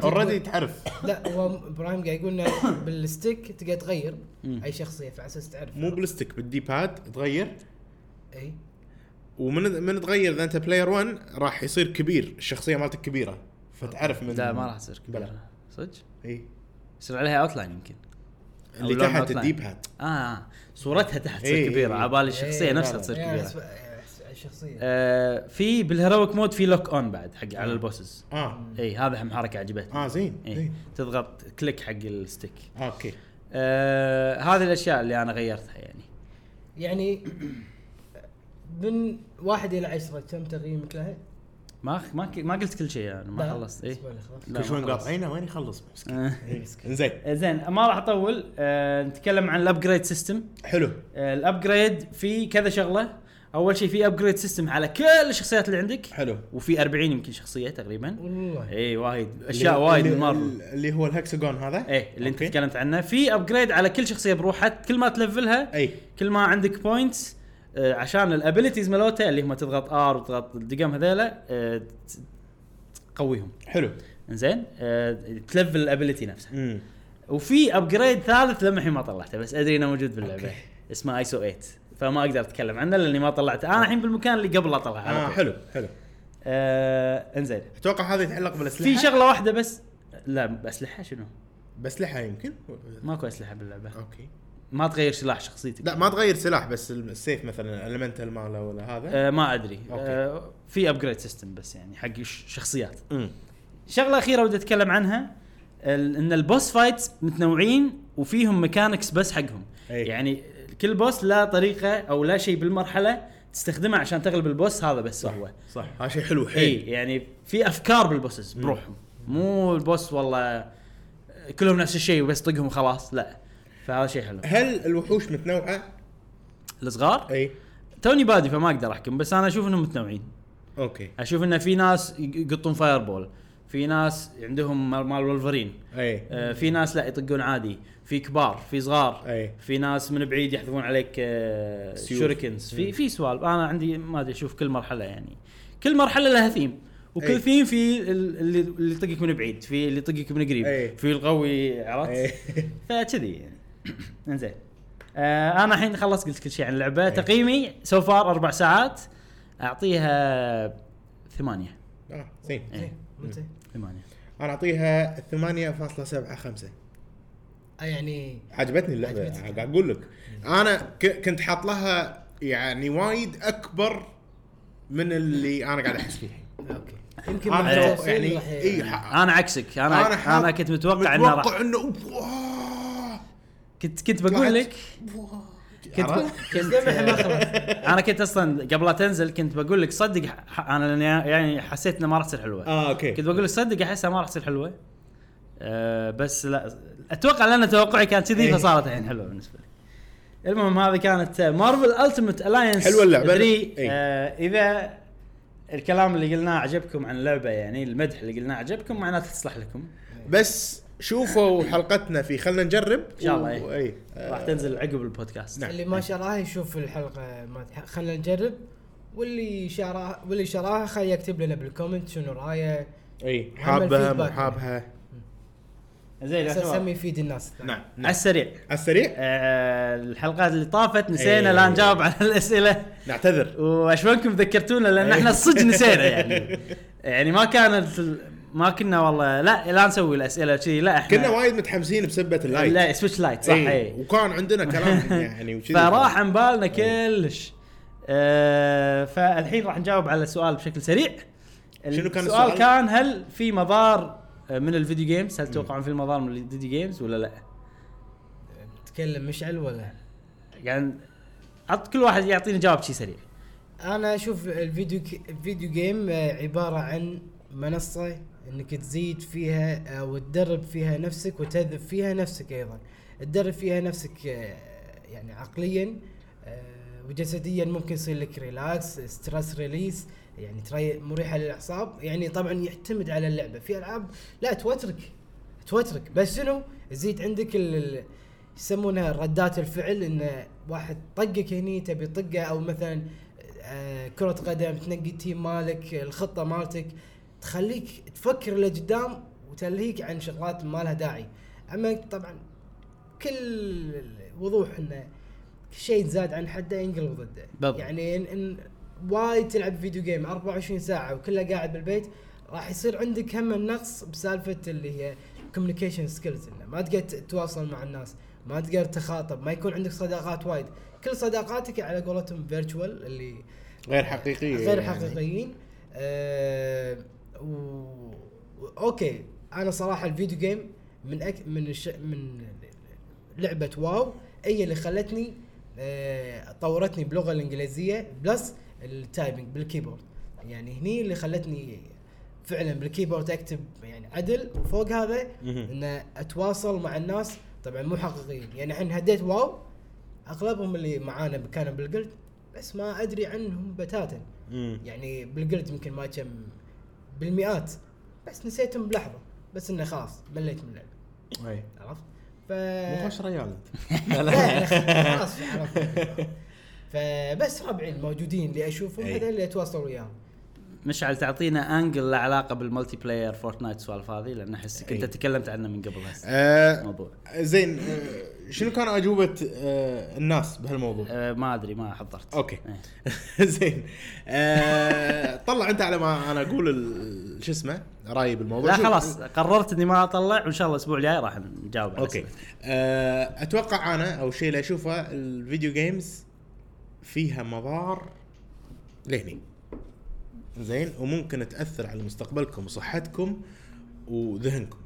[SPEAKER 3] اوريدي تعرف
[SPEAKER 2] لا هو ابراهيم قاعد يقول إنه بالستيك تقدر تغير
[SPEAKER 1] مم.
[SPEAKER 2] اي شخصيه فعلى اساس تعرف إيه.
[SPEAKER 3] مو بالستيك بالدي باد تغير
[SPEAKER 2] اي
[SPEAKER 3] ومن من تغير اذا انت بلاير 1 راح يصير كبير الشخصيه مالتك كبيره فتعرف من
[SPEAKER 1] لا ما راح تصير
[SPEAKER 3] بلى.
[SPEAKER 1] كبيره صدق
[SPEAKER 3] اي
[SPEAKER 1] يصير عليها اوتلاين يمكن أو
[SPEAKER 3] إيه. اللي
[SPEAKER 1] لون
[SPEAKER 3] تحت
[SPEAKER 1] outline.
[SPEAKER 3] الديب هات
[SPEAKER 1] اه صورتها تحت تصير
[SPEAKER 3] إيه،
[SPEAKER 1] كبيره
[SPEAKER 3] إيه.
[SPEAKER 1] على بالي الشخصيه
[SPEAKER 2] إيه،
[SPEAKER 1] نفسها
[SPEAKER 3] لا، لا.
[SPEAKER 1] تصير
[SPEAKER 2] يعني
[SPEAKER 1] كبيره
[SPEAKER 2] حسب- حسب الشخصيه
[SPEAKER 1] آه، في بالهيرويك مود في لوك اون بعد حق
[SPEAKER 3] آه.
[SPEAKER 1] على البوسز
[SPEAKER 3] اه
[SPEAKER 1] اي هذا هم حركه عجبتني
[SPEAKER 3] اه زين
[SPEAKER 1] اي
[SPEAKER 3] زين
[SPEAKER 1] إيه، تضغط كليك حق الستيك
[SPEAKER 3] آه، اوكي
[SPEAKER 1] آه هذه الاشياء اللي انا غيرتها يعني
[SPEAKER 2] يعني من واحد الى عشره كم تقييمك لها؟
[SPEAKER 1] ما ما ك- ما قلت كل شيء يعني ما خلصت اي
[SPEAKER 2] الأسبوع اللي خلص.
[SPEAKER 1] لا، ما
[SPEAKER 3] كل شوي
[SPEAKER 1] خلصت.
[SPEAKER 3] مقاطعينه وين يخلص مسكين
[SPEAKER 1] آه.
[SPEAKER 3] زين
[SPEAKER 1] زين ما راح اطول آه نتكلم عن الابجريد سيستم
[SPEAKER 3] حلو
[SPEAKER 1] آه الابجريد في كذا شغله اول شيء في ابجريد سيستم على كل الشخصيات اللي عندك
[SPEAKER 3] حلو
[SPEAKER 1] وفي 40 يمكن شخصيه تقريبا
[SPEAKER 2] والله
[SPEAKER 1] اي وايد
[SPEAKER 3] اللي-
[SPEAKER 1] اشياء وايد
[SPEAKER 3] اللي-
[SPEAKER 1] من مارفل
[SPEAKER 3] اللي هو الهكسجون هذا
[SPEAKER 1] ايه اللي انت
[SPEAKER 3] أوكي.
[SPEAKER 1] تكلمت عنه في ابجريد على كل شخصيه بروحها كل ما تلفلها
[SPEAKER 3] اي
[SPEAKER 1] كل ما عندك بوينتس آه، عشان الابيلتيز مالته اللي هم تضغط ار وتضغط الدقم هذيلا آه، ت- تقويهم
[SPEAKER 3] حلو
[SPEAKER 1] زين آه، تلفل الابيلتي نفسها
[SPEAKER 3] امم
[SPEAKER 1] وفي ابجريد ثالث لما الحين ما طلعته بس ادري انه موجود باللعبه
[SPEAKER 3] أوكي.
[SPEAKER 1] اسمه ايسو 8 فما اقدر اتكلم عنه لاني ما طلعته انا الحين بالمكان اللي قبل اطلع على
[SPEAKER 3] اه
[SPEAKER 1] طول.
[SPEAKER 3] حلو حلو
[SPEAKER 1] آه انزين
[SPEAKER 3] اتوقع هذا يتعلق بالاسلحه
[SPEAKER 1] في شغله واحده بس لا اسلحه شنو؟
[SPEAKER 3] باسلحه يمكن
[SPEAKER 1] ماكو اسلحه باللعبه
[SPEAKER 3] اوكي
[SPEAKER 1] ما تغير سلاح شخصيتك
[SPEAKER 3] لا ما تغير سلاح بس السيف مثلا المنتال ماله ولا هذا
[SPEAKER 1] آه ما ادري
[SPEAKER 3] أوكي.
[SPEAKER 1] آه في ابجريد سيستم بس يعني حق الش- الشخصيات
[SPEAKER 3] امم
[SPEAKER 1] شغله اخيره ودي اتكلم عنها ال- ان البوس فايتس متنوعين وفيهم ميكانكس بس حقهم
[SPEAKER 3] أي.
[SPEAKER 1] يعني كل بوس لا طريقه او لا شيء بالمرحله تستخدمه عشان تغلب البوس هذا بس صح. هو
[SPEAKER 3] صح هذا شيء حلو
[SPEAKER 1] اي
[SPEAKER 3] حيل
[SPEAKER 1] يعني في افكار بالبوسز بروحهم مو البوس والله كلهم نفس الشيء وبس طقهم وخلاص لا فهذا شيء حلو
[SPEAKER 3] هل الوحوش إيه. متنوعه؟
[SPEAKER 1] الصغار
[SPEAKER 3] اي
[SPEAKER 1] توني بادي فما اقدر احكم بس انا اشوف انهم متنوعين
[SPEAKER 3] اوكي
[SPEAKER 1] اشوف انه في ناس يقطون فاير بول في ناس عندهم مال مال ولفرين
[SPEAKER 3] اي
[SPEAKER 1] آه، في ناس لا يطقون عادي في كبار في صغار
[SPEAKER 3] أي.
[SPEAKER 1] في ناس من بعيد يحذفون عليك آه،
[SPEAKER 3] سيوف.
[SPEAKER 1] شوريكنز في في سوالف انا عندي ما ادري اشوف كل مرحله يعني كل مرحله لها ثيم وكل
[SPEAKER 3] أي.
[SPEAKER 1] ثيم في ال- اللي اللي يطقك من بعيد في اللي يطقك من
[SPEAKER 3] أي.
[SPEAKER 1] قريب في القوي عرفت
[SPEAKER 3] أي.
[SPEAKER 1] فكذي يعني انزين آه انا الحين خلصت قلت كل شيء عن اللعبه تقييمي سو فار اربع ساعات اعطيها ثمانية
[SPEAKER 3] آه، زين
[SPEAKER 1] إيه.
[SPEAKER 2] زين ممتاز
[SPEAKER 1] ثمانية
[SPEAKER 3] انا اعطيها 8.75
[SPEAKER 2] آه، يعني
[SPEAKER 3] عجبتني اللعبه
[SPEAKER 2] عجبتك.
[SPEAKER 3] قاعد اقول لك انا ك- كنت حاط لها يعني وايد اكبر من اللي انا قاعد احس فيه
[SPEAKER 2] اوكي يمكن مع
[SPEAKER 3] انا
[SPEAKER 2] التفصيل
[SPEAKER 3] يعني
[SPEAKER 2] راح ي-
[SPEAKER 1] إيه.
[SPEAKER 3] اي ح-
[SPEAKER 1] انا عكسك انا انا,
[SPEAKER 3] حاط-
[SPEAKER 1] أنا كنت متوقع انه راح
[SPEAKER 3] متوقع انه واو.
[SPEAKER 1] كنت كنت بقول لك
[SPEAKER 3] واو.
[SPEAKER 1] كنت
[SPEAKER 3] عرفت؟
[SPEAKER 1] كنت انا كنت اصلا قبل لا تنزل كنت بقول لك صدق ح- انا لأني يعني حسيت انها ما راح تصير حلوه
[SPEAKER 3] اه اوكي
[SPEAKER 1] كنت بقول لك صدق احسها ما راح تصير حلوه أه بس لا اتوقع لان توقعي كان كذي
[SPEAKER 3] إيه.
[SPEAKER 1] فصارت الحين حلوه بالنسبه لي المهم هذه كانت مارفل التيمت الاينس
[SPEAKER 3] حلوة اللعبة.
[SPEAKER 1] 3
[SPEAKER 3] إيه.
[SPEAKER 1] أه اذا الكلام اللي قلناه عجبكم عن اللعبه يعني المدح اللي قلناه عجبكم معناته تصلح لكم
[SPEAKER 3] بس شوفوا حلقتنا في خلنا نجرب ان
[SPEAKER 1] شاء الله، إيه.
[SPEAKER 3] اي
[SPEAKER 1] راح تنزل عقب البودكاست
[SPEAKER 3] نعم.
[SPEAKER 2] اللي ما شراها يشوف الحلقه ما تح- خلينا نجرب واللي شراها واللي شراها خليه يكتب لنا بالكومنت شنو
[SPEAKER 1] إيه،
[SPEAKER 2] رايه
[SPEAKER 3] اي آه، إيه. حابها مو
[SPEAKER 2] feedback.
[SPEAKER 3] حابها
[SPEAKER 1] زين يا
[SPEAKER 2] اساس
[SPEAKER 1] شباب.
[SPEAKER 2] هم يفيد الناس
[SPEAKER 3] نعم
[SPEAKER 1] على
[SPEAKER 3] نعم
[SPEAKER 1] السريع
[SPEAKER 3] على السريع
[SPEAKER 1] آه، الحلقات اللي طافت نسينا
[SPEAKER 3] إيه.
[SPEAKER 1] لا نجاوب على الاسئله
[SPEAKER 3] نعتذر
[SPEAKER 1] واشوفكم ذكرتونا لان احنا صدق نسينا يعني يعني ما كانت ال- ما كنا والله لا لا نسوي الاسئله كذي لا احنا
[SPEAKER 3] كنا وايد متحمسين بسبه اللايت
[SPEAKER 1] لا سويتش لايت صح
[SPEAKER 3] إي،
[SPEAKER 1] اي
[SPEAKER 3] وكان عندنا كلام يعني وكذي
[SPEAKER 1] فراح عن بالنا
[SPEAKER 3] إيه.
[SPEAKER 1] كلش آه فالحين راح نجاوب على سؤال بشكل سريع
[SPEAKER 3] شنو كان
[SPEAKER 1] السؤال
[SPEAKER 3] السؤال؟
[SPEAKER 1] كان هل في مضار آه، من الفيديو جيمز هل توقعون في مضار من الفيديو جيمز ولا لا
[SPEAKER 2] تكلم مشعل ولا
[SPEAKER 1] يعني عط كل واحد يعطيني جواب شي سريع
[SPEAKER 2] انا اشوف الفيديو ك... الفيديو جيم آه، عباره عن منصه انك تزيد فيها آه، وتدرب فيها نفسك وتهذب فيها نفسك ايضا تدرب فيها نفسك آه، يعني عقليا آه، وجسديا ممكن يصير لك ريلاكس ستريس ريليس يعني تري مريحه للاعصاب يعني طبعا يعتمد على اللعبه في العاب لا توترك توترك بس شنو تزيد عندك ال- ال- يسمونها ردات الفعل ان واحد طقك هني تبي طقه او مثلا آه، كرة قدم تنقي التيم مالك الخطة مالتك تخليك تفكر لقدام وتلهيك عن شغلات ما لها داعي اما طبعا كل وضوح انه كل شيء زاد عن حده ينقلب ضده
[SPEAKER 1] بالضبط.
[SPEAKER 2] يعني إن, إن وايد تلعب فيديو جيم 24 ساعه وكله قاعد بالبيت راح يصير عندك هم النقص بسالفه اللي هي كوميونيكيشن سكيلز انه ما تقدر تتواصل مع الناس ما تقدر تخاطب ما يكون عندك صداقات وايد كل صداقاتك على قولتهم فيرتشوال اللي
[SPEAKER 3] غير حقيقيه
[SPEAKER 2] غير
[SPEAKER 3] يعني.
[SPEAKER 2] حقيقيين آه و... و- اوكي انا صراحه الفيديو جيم من أك... من الش... من لعبه واو هي اللي خلتني آه طورتني باللغه الانجليزيه بلس التايبنج بالكيبورد يعني هني اللي خلتني فعلا بالكيبورد اكتب يعني عدل وفوق هذا
[SPEAKER 3] مهم.
[SPEAKER 2] ان اتواصل مع الناس طبعا مو حقيقيين يعني الحين هديت واو اغلبهم اللي معانا كانوا بالجلد بس ما ادري عنهم بتاتا
[SPEAKER 3] مم.
[SPEAKER 2] يعني بالجلد يمكن ما كم بالمئات بس نسيتهم بلحظه بس انه خلاص مليت من اللعب
[SPEAKER 3] أي.
[SPEAKER 2] عرفت ف
[SPEAKER 3] مو خوش ريال انت
[SPEAKER 2] لا، لا، خلاص عرفت. فبس ربعي الموجودين اللي اشوفهم
[SPEAKER 3] أي.
[SPEAKER 2] هذول اللي اتواصل وياهم
[SPEAKER 1] مشعل تعطينا انجل له علاقه بالملتي بلاير فورتنايت سوالف هذه لان احسك انت
[SPEAKER 3] إي.
[SPEAKER 1] تكلمت عنه من قبل هسه
[SPEAKER 3] آه،
[SPEAKER 1] الموضوع
[SPEAKER 3] زين آه، شنو كان اجوبه آه، الناس بهالموضوع؟
[SPEAKER 1] أه ما ادري ما حضرت
[SPEAKER 3] اوكي
[SPEAKER 1] إيه.
[SPEAKER 3] زين آه، طلع انت على ما انا اقول ال- شو اسمه رايي بالموضوع
[SPEAKER 1] لا
[SPEAKER 3] شوف،
[SPEAKER 1] خلاص قررت اني ما اطلع وان شاء الله الاسبوع الجاي راح نجاوب على
[SPEAKER 3] اوكي
[SPEAKER 1] الأسئلة.
[SPEAKER 3] آه، اتوقع انا او الشيء اللي اشوفه الفيديو جيمز فيها مضار لهني زين وممكن تاثر على مستقبلكم وصحتكم وذهنكم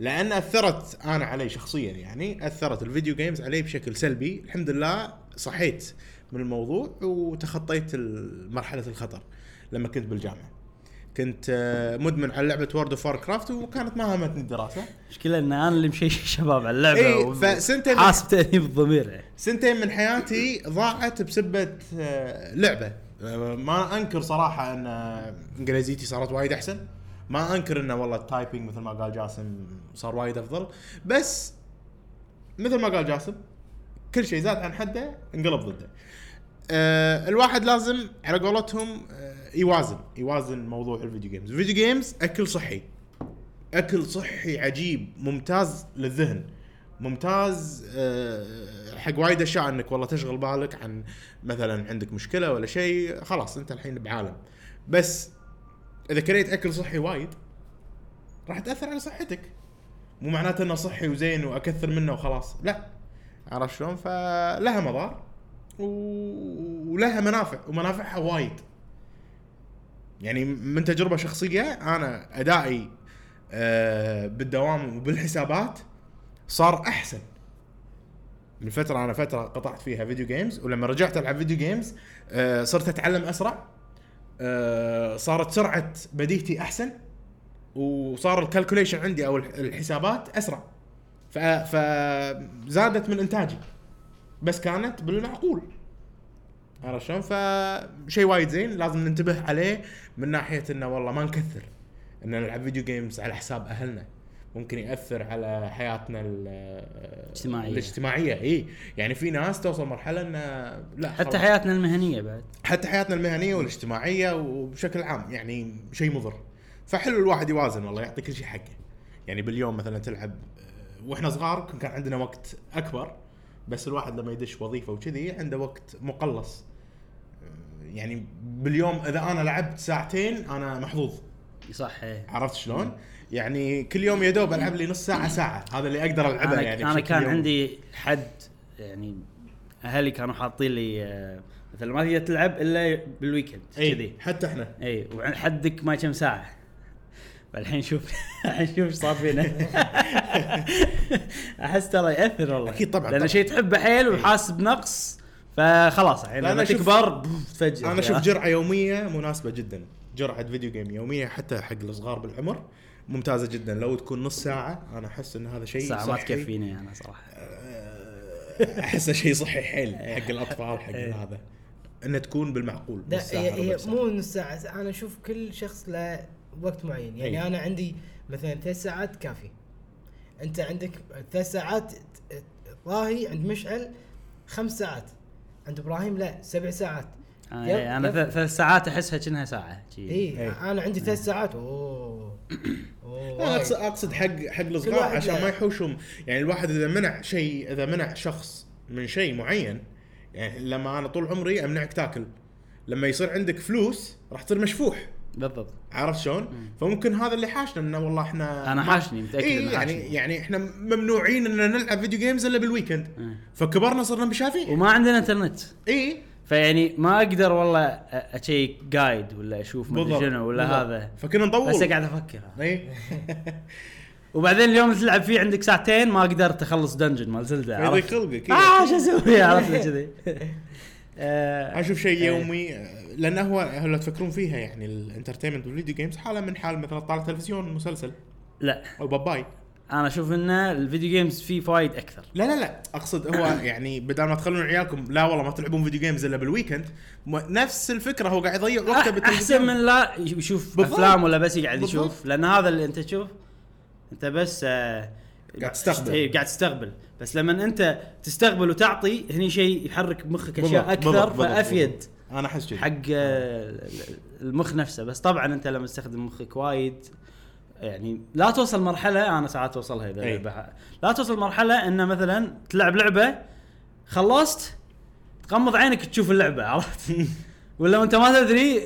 [SPEAKER 3] لان اثرت انا علي شخصيا يعني اثرت الفيديو جيمز علي بشكل سلبي الحمد لله صحيت من الموضوع وتخطيت ال- مرحله الخطر لما كنت بالجامعه كنت آه، مدمن على لعبه وورد اوف كرافت وكانت ما همتني الدراسه
[SPEAKER 1] المشكله ان انا اللي مشيش الشباب على اللعبه
[SPEAKER 3] إي،
[SPEAKER 1] و-
[SPEAKER 3] إيه، فسنتين-
[SPEAKER 1] حاسب تانيب الضمير
[SPEAKER 3] سنتين من حياتي ضاعت بسبة آه، لعبة آه، ما انكر صراحة ان آه، انجليزيتي صارت وايد احسن ما انكر انه والله التايبنج مثل ما قال جاسم صار وايد افضل بس مثل ما قال جاسم كل شيء زاد عن حده انقلب ضده آه، الواحد لازم على قولتهم آه، يوازن يوازن موضوع الفيديو جيمز الفيديو جيمز اكل صحي اكل صحي عجيب ممتاز للذهن ممتاز آه، حق وايد اشياء انك والله تشغل بالك عن مثلا عندك مشكله ولا شيء خلاص انت الحين بعالم بس اذا كريت اكل صحي وايد راح تاثر على صحتك مو معناته انه صحي وزين واكثر منه وخلاص لا عرفت شلون فلها مضار و- ولها منافع ومنافعها وايد يعني من تجربه شخصيه انا ادائي آه، بالدوام وبالحسابات صار احسن من فتره انا فتره قطعت فيها فيديو جيمز ولما رجعت العب فيديو جيمز آه، صرت اتعلم اسرع آه، صارت سرعه بديهتي احسن وصار الكالكوليشن عندي او الح- الحسابات اسرع ف- فزادت من انتاجي بس كانت بالمعقول عرفت شلون؟ فشيء وايد زين لازم ننتبه عليه من ناحيه انه والله ما نكثر ان نلعب فيديو جيمز على حساب اهلنا ممكن ياثر على حياتنا الاجتماعيه
[SPEAKER 1] اجتماعية.
[SPEAKER 3] الاجتماعيه اي يعني في ناس توصل مرحله انه لا خلاص.
[SPEAKER 1] حتى حياتنا المهنيه بعد
[SPEAKER 3] حتى حياتنا المهنيه والاجتماعيه وبشكل عام يعني شيء مضر فحلو الواحد يوازن والله يعطي كل شيء حقه يعني باليوم مثلا تلعب آه، واحنا صغار كان عندنا وقت اكبر بس الواحد لما يدش وظيفه وكذي عنده وقت مقلص آه، يعني باليوم اذا انا لعبت ساعتين انا محظوظ
[SPEAKER 1] صح إيه.
[SPEAKER 3] عرفت شلون؟ يعني كل يوم يا دوب العب لي نص ساعه ساعه هذا اللي اقدر العبه
[SPEAKER 1] انا
[SPEAKER 3] يعني
[SPEAKER 1] انا
[SPEAKER 3] بشكل
[SPEAKER 1] كان
[SPEAKER 3] يومي.
[SPEAKER 1] عندي حد يعني اهلي كانوا حاطين لي آه، مثلا ما تقدر تلعب الا بالويكند
[SPEAKER 3] اي
[SPEAKER 1] كذي
[SPEAKER 3] إيه، حتى احنا
[SPEAKER 1] اي وحدك ما كم ساعه فالحين شوف الحين شوف ايش صار فينا احس ترى ياثر والله
[SPEAKER 3] أكيد طبعاً، طبعاً.
[SPEAKER 1] لان شيء تحبه حيل وحاسس بنقص فخلاص الحين
[SPEAKER 3] لا، أنا
[SPEAKER 1] لما
[SPEAKER 3] أشوف-
[SPEAKER 1] تكبر بوف، تفجر
[SPEAKER 3] انا اشوف جرعه يوميه مناسبه جدا جرعه فيديو جيم يوميه حتى حق الصغار بالعمر ممتازه جدا لو تكون نص ساعه انا احس ان هذا شيء
[SPEAKER 1] ساعه ما
[SPEAKER 3] صحي.
[SPEAKER 1] تكفيني انا صراحه
[SPEAKER 3] آه، احسه شيء صحي حيل حق الاطفال حق هذا انها تكون بالمعقول
[SPEAKER 2] إيه. لا
[SPEAKER 3] نص ساعة،
[SPEAKER 2] هي, هي
[SPEAKER 3] ربع ساعة.
[SPEAKER 2] مو نص ساعة ساعة. انا اشوف كل شخص له وقت معين يعني
[SPEAKER 3] أي.
[SPEAKER 2] انا عندي مثلا ثلاث ساعات كافي انت عندك ثلاث ساعات ت- طاهي عند مشعل خمس ساعات عند ابراهيم لا سبع ساعات
[SPEAKER 1] انا,
[SPEAKER 2] يب-
[SPEAKER 1] إيه، أنا
[SPEAKER 2] يب.
[SPEAKER 1] ث- ثلاث ساعات احسها كأنها ساعه شي.
[SPEAKER 2] اي
[SPEAKER 3] أي.
[SPEAKER 2] انا إيه، عندي ثلاث ساعات اوه
[SPEAKER 3] لا،
[SPEAKER 2] اوه
[SPEAKER 3] اقصد اقصد حق حق الصغار
[SPEAKER 2] واحد
[SPEAKER 3] عشان
[SPEAKER 2] له.
[SPEAKER 3] ما يحوشهم يعني الواحد اذا منع شيء اذا منع شخص من شيء معين يعني لما انا طول عمري امنعك تاكل لما يصير عندك فلوس راح تصير مشفوح
[SPEAKER 1] بالضبط
[SPEAKER 3] عرفت شلون؟ فممكن هذا اللي حاشنا انه والله احنا
[SPEAKER 1] أنا
[SPEAKER 3] ما-
[SPEAKER 1] حاشني، متأكد
[SPEAKER 3] إيه
[SPEAKER 1] إنه
[SPEAKER 3] يعني
[SPEAKER 1] حاشني.
[SPEAKER 3] يعني احنا ممنوعين اننا نلعب فيديو جيمز الا بالويكند
[SPEAKER 1] إيه.
[SPEAKER 3] فكبرنا صرنا مشافين
[SPEAKER 1] وما عندنا انترنت
[SPEAKER 3] اي
[SPEAKER 1] فيعني ما اقدر والله أ- اشيك جايد ولا اشوف مدري
[SPEAKER 3] بالضبط
[SPEAKER 1] شنو ولا
[SPEAKER 3] بالضبط.
[SPEAKER 1] هذا
[SPEAKER 3] فكنا نطول
[SPEAKER 1] بس قاعد افكر
[SPEAKER 3] اي
[SPEAKER 1] وبعدين اليوم اللي تلعب فيه عندك ساعتين ما قدرت اخلص دنجن مال زلده
[SPEAKER 3] يضيق
[SPEAKER 1] عرفت؟
[SPEAKER 3] خلقك إيه.
[SPEAKER 1] اه شو اسوي عرفت كذي آه،
[SPEAKER 3] اشوف شيء
[SPEAKER 1] إيه.
[SPEAKER 3] يومي لان هو هو لو تفكرون فيها يعني الانترتينمنت والفيديو جيمز حاله من حال مثلا طالع تلفزيون مسلسل
[SPEAKER 1] لا
[SPEAKER 3] او باباي
[SPEAKER 1] انا اشوف ان الفيديو جيمز فيه فوايد اكثر
[SPEAKER 3] لا لا لا اقصد هو يعني بدل ما تخلون عيالكم لا والله ما تلعبون فيديو جيمز الا بالويكند م- نفس الفكره هو قاعد يضيع وقته
[SPEAKER 1] أح-
[SPEAKER 3] بالتلفزيون
[SPEAKER 1] احسن من لا يشوف
[SPEAKER 3] بالضبط.
[SPEAKER 1] افلام ولا بس يقعد
[SPEAKER 3] بالضبط.
[SPEAKER 1] يشوف لان هذا اللي انت تشوف انت بس آه،
[SPEAKER 3] قاعد تستقبل.
[SPEAKER 1] إيه، قاعد تستقبل بس لما انت تستقبل وتعطي هني شيء يحرك مخك اشياء
[SPEAKER 3] بالضبط، بالضبط،
[SPEAKER 1] اكثر
[SPEAKER 3] بالضبط،
[SPEAKER 1] فافيد
[SPEAKER 3] بالضبط. انا احس كذي
[SPEAKER 1] حق آه، المخ نفسه بس طبعا انت لما تستخدم مخك وايد يعني لا توصل مرحله انا ساعات اوصلها اذا
[SPEAKER 3] أي.
[SPEAKER 1] بح- لا توصل مرحله انه مثلا تلعب لعبه خلصت تغمض عينك تشوف اللعبه عرفت ولا وانت ما تدري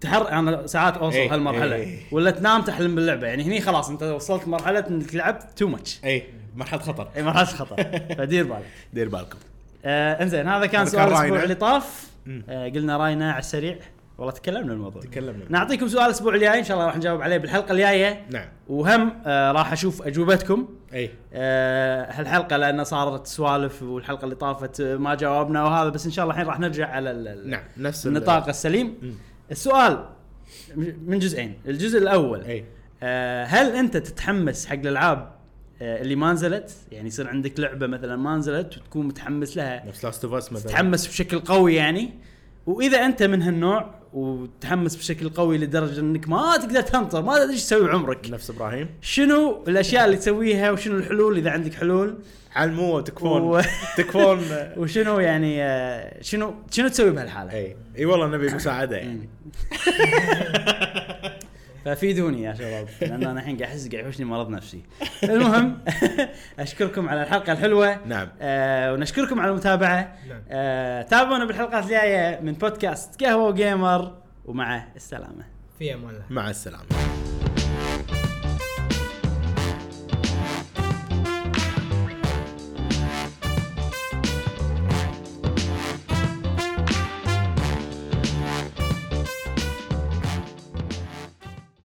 [SPEAKER 1] تحر انا ساعات اوصل
[SPEAKER 3] أي،
[SPEAKER 1] هالمرحله
[SPEAKER 3] أي.
[SPEAKER 1] ولا تنام تحلم باللعبه يعني هني خلاص انت وصلت مرحله انك لعبت إيه، تو ماتش
[SPEAKER 3] اي مرحله خطر
[SPEAKER 1] اي مرحله خطر فدير بالك
[SPEAKER 3] دير بالكم
[SPEAKER 1] آه انزين هذا كان
[SPEAKER 3] هذا
[SPEAKER 1] سؤال
[SPEAKER 3] كان
[SPEAKER 1] الاسبوع
[SPEAKER 3] رأينا.
[SPEAKER 1] اللي طاف
[SPEAKER 3] مم.
[SPEAKER 1] آه قلنا راينا على السريع والله تكلمنا الموضوع
[SPEAKER 3] تكلمنا.
[SPEAKER 1] نعطيكم سؤال الاسبوع الجاي ان شاء الله راح نجاوب عليه بالحلقه الجايه
[SPEAKER 3] نعم إيه.
[SPEAKER 1] وهم آه راح اشوف اجوبتكم
[SPEAKER 3] اي
[SPEAKER 1] آه هالحلقه لان صارت سوالف والحلقه اللي طافت آه، ما جاوبنا وهذا بس ان شاء الله الحين راح نرجع على ال- ال-
[SPEAKER 3] نعم نفس ال-
[SPEAKER 1] النطاق السليم
[SPEAKER 3] مم.
[SPEAKER 1] السؤال من جزئين الجزء الاول
[SPEAKER 3] اي
[SPEAKER 1] آه، هل انت تتحمس حق الالعاب آه، اللي ما نزلت يعني يصير عندك لعبه مثلا ما نزلت وتكون متحمس لها
[SPEAKER 3] نفس لاست اوف اس مثلا
[SPEAKER 1] تتحمس بشكل قوي يعني واذا انت من هالنوع وتحمس بشكل قوي لدرجه انك ما تقدر تنطر ما تدري ايش تسوي بعمرك
[SPEAKER 3] نفس ابراهيم
[SPEAKER 1] شنو الاشياء اللي تسويها وشنو الحلول اذا عندك حلول
[SPEAKER 3] علموه
[SPEAKER 1] و-
[SPEAKER 3] تكفون تكفون
[SPEAKER 1] وشنو يعني آه، شنو شنو تسوي بهالحاله
[SPEAKER 3] اي اي والله نبي مساعده يعني
[SPEAKER 1] فافيدوني يا شباب لان انا الحين قاعد احس قاعد يحوشني مرض نفسي المهم اشكركم على الحلقه الحلوه
[SPEAKER 3] نعم
[SPEAKER 1] آه ونشكركم على المتابعه
[SPEAKER 2] نعم.
[SPEAKER 1] آه تابعونا بالحلقات الجايه من بودكاست قهوه جيمر ومع السلامه
[SPEAKER 2] في امان الله
[SPEAKER 3] مع السلامه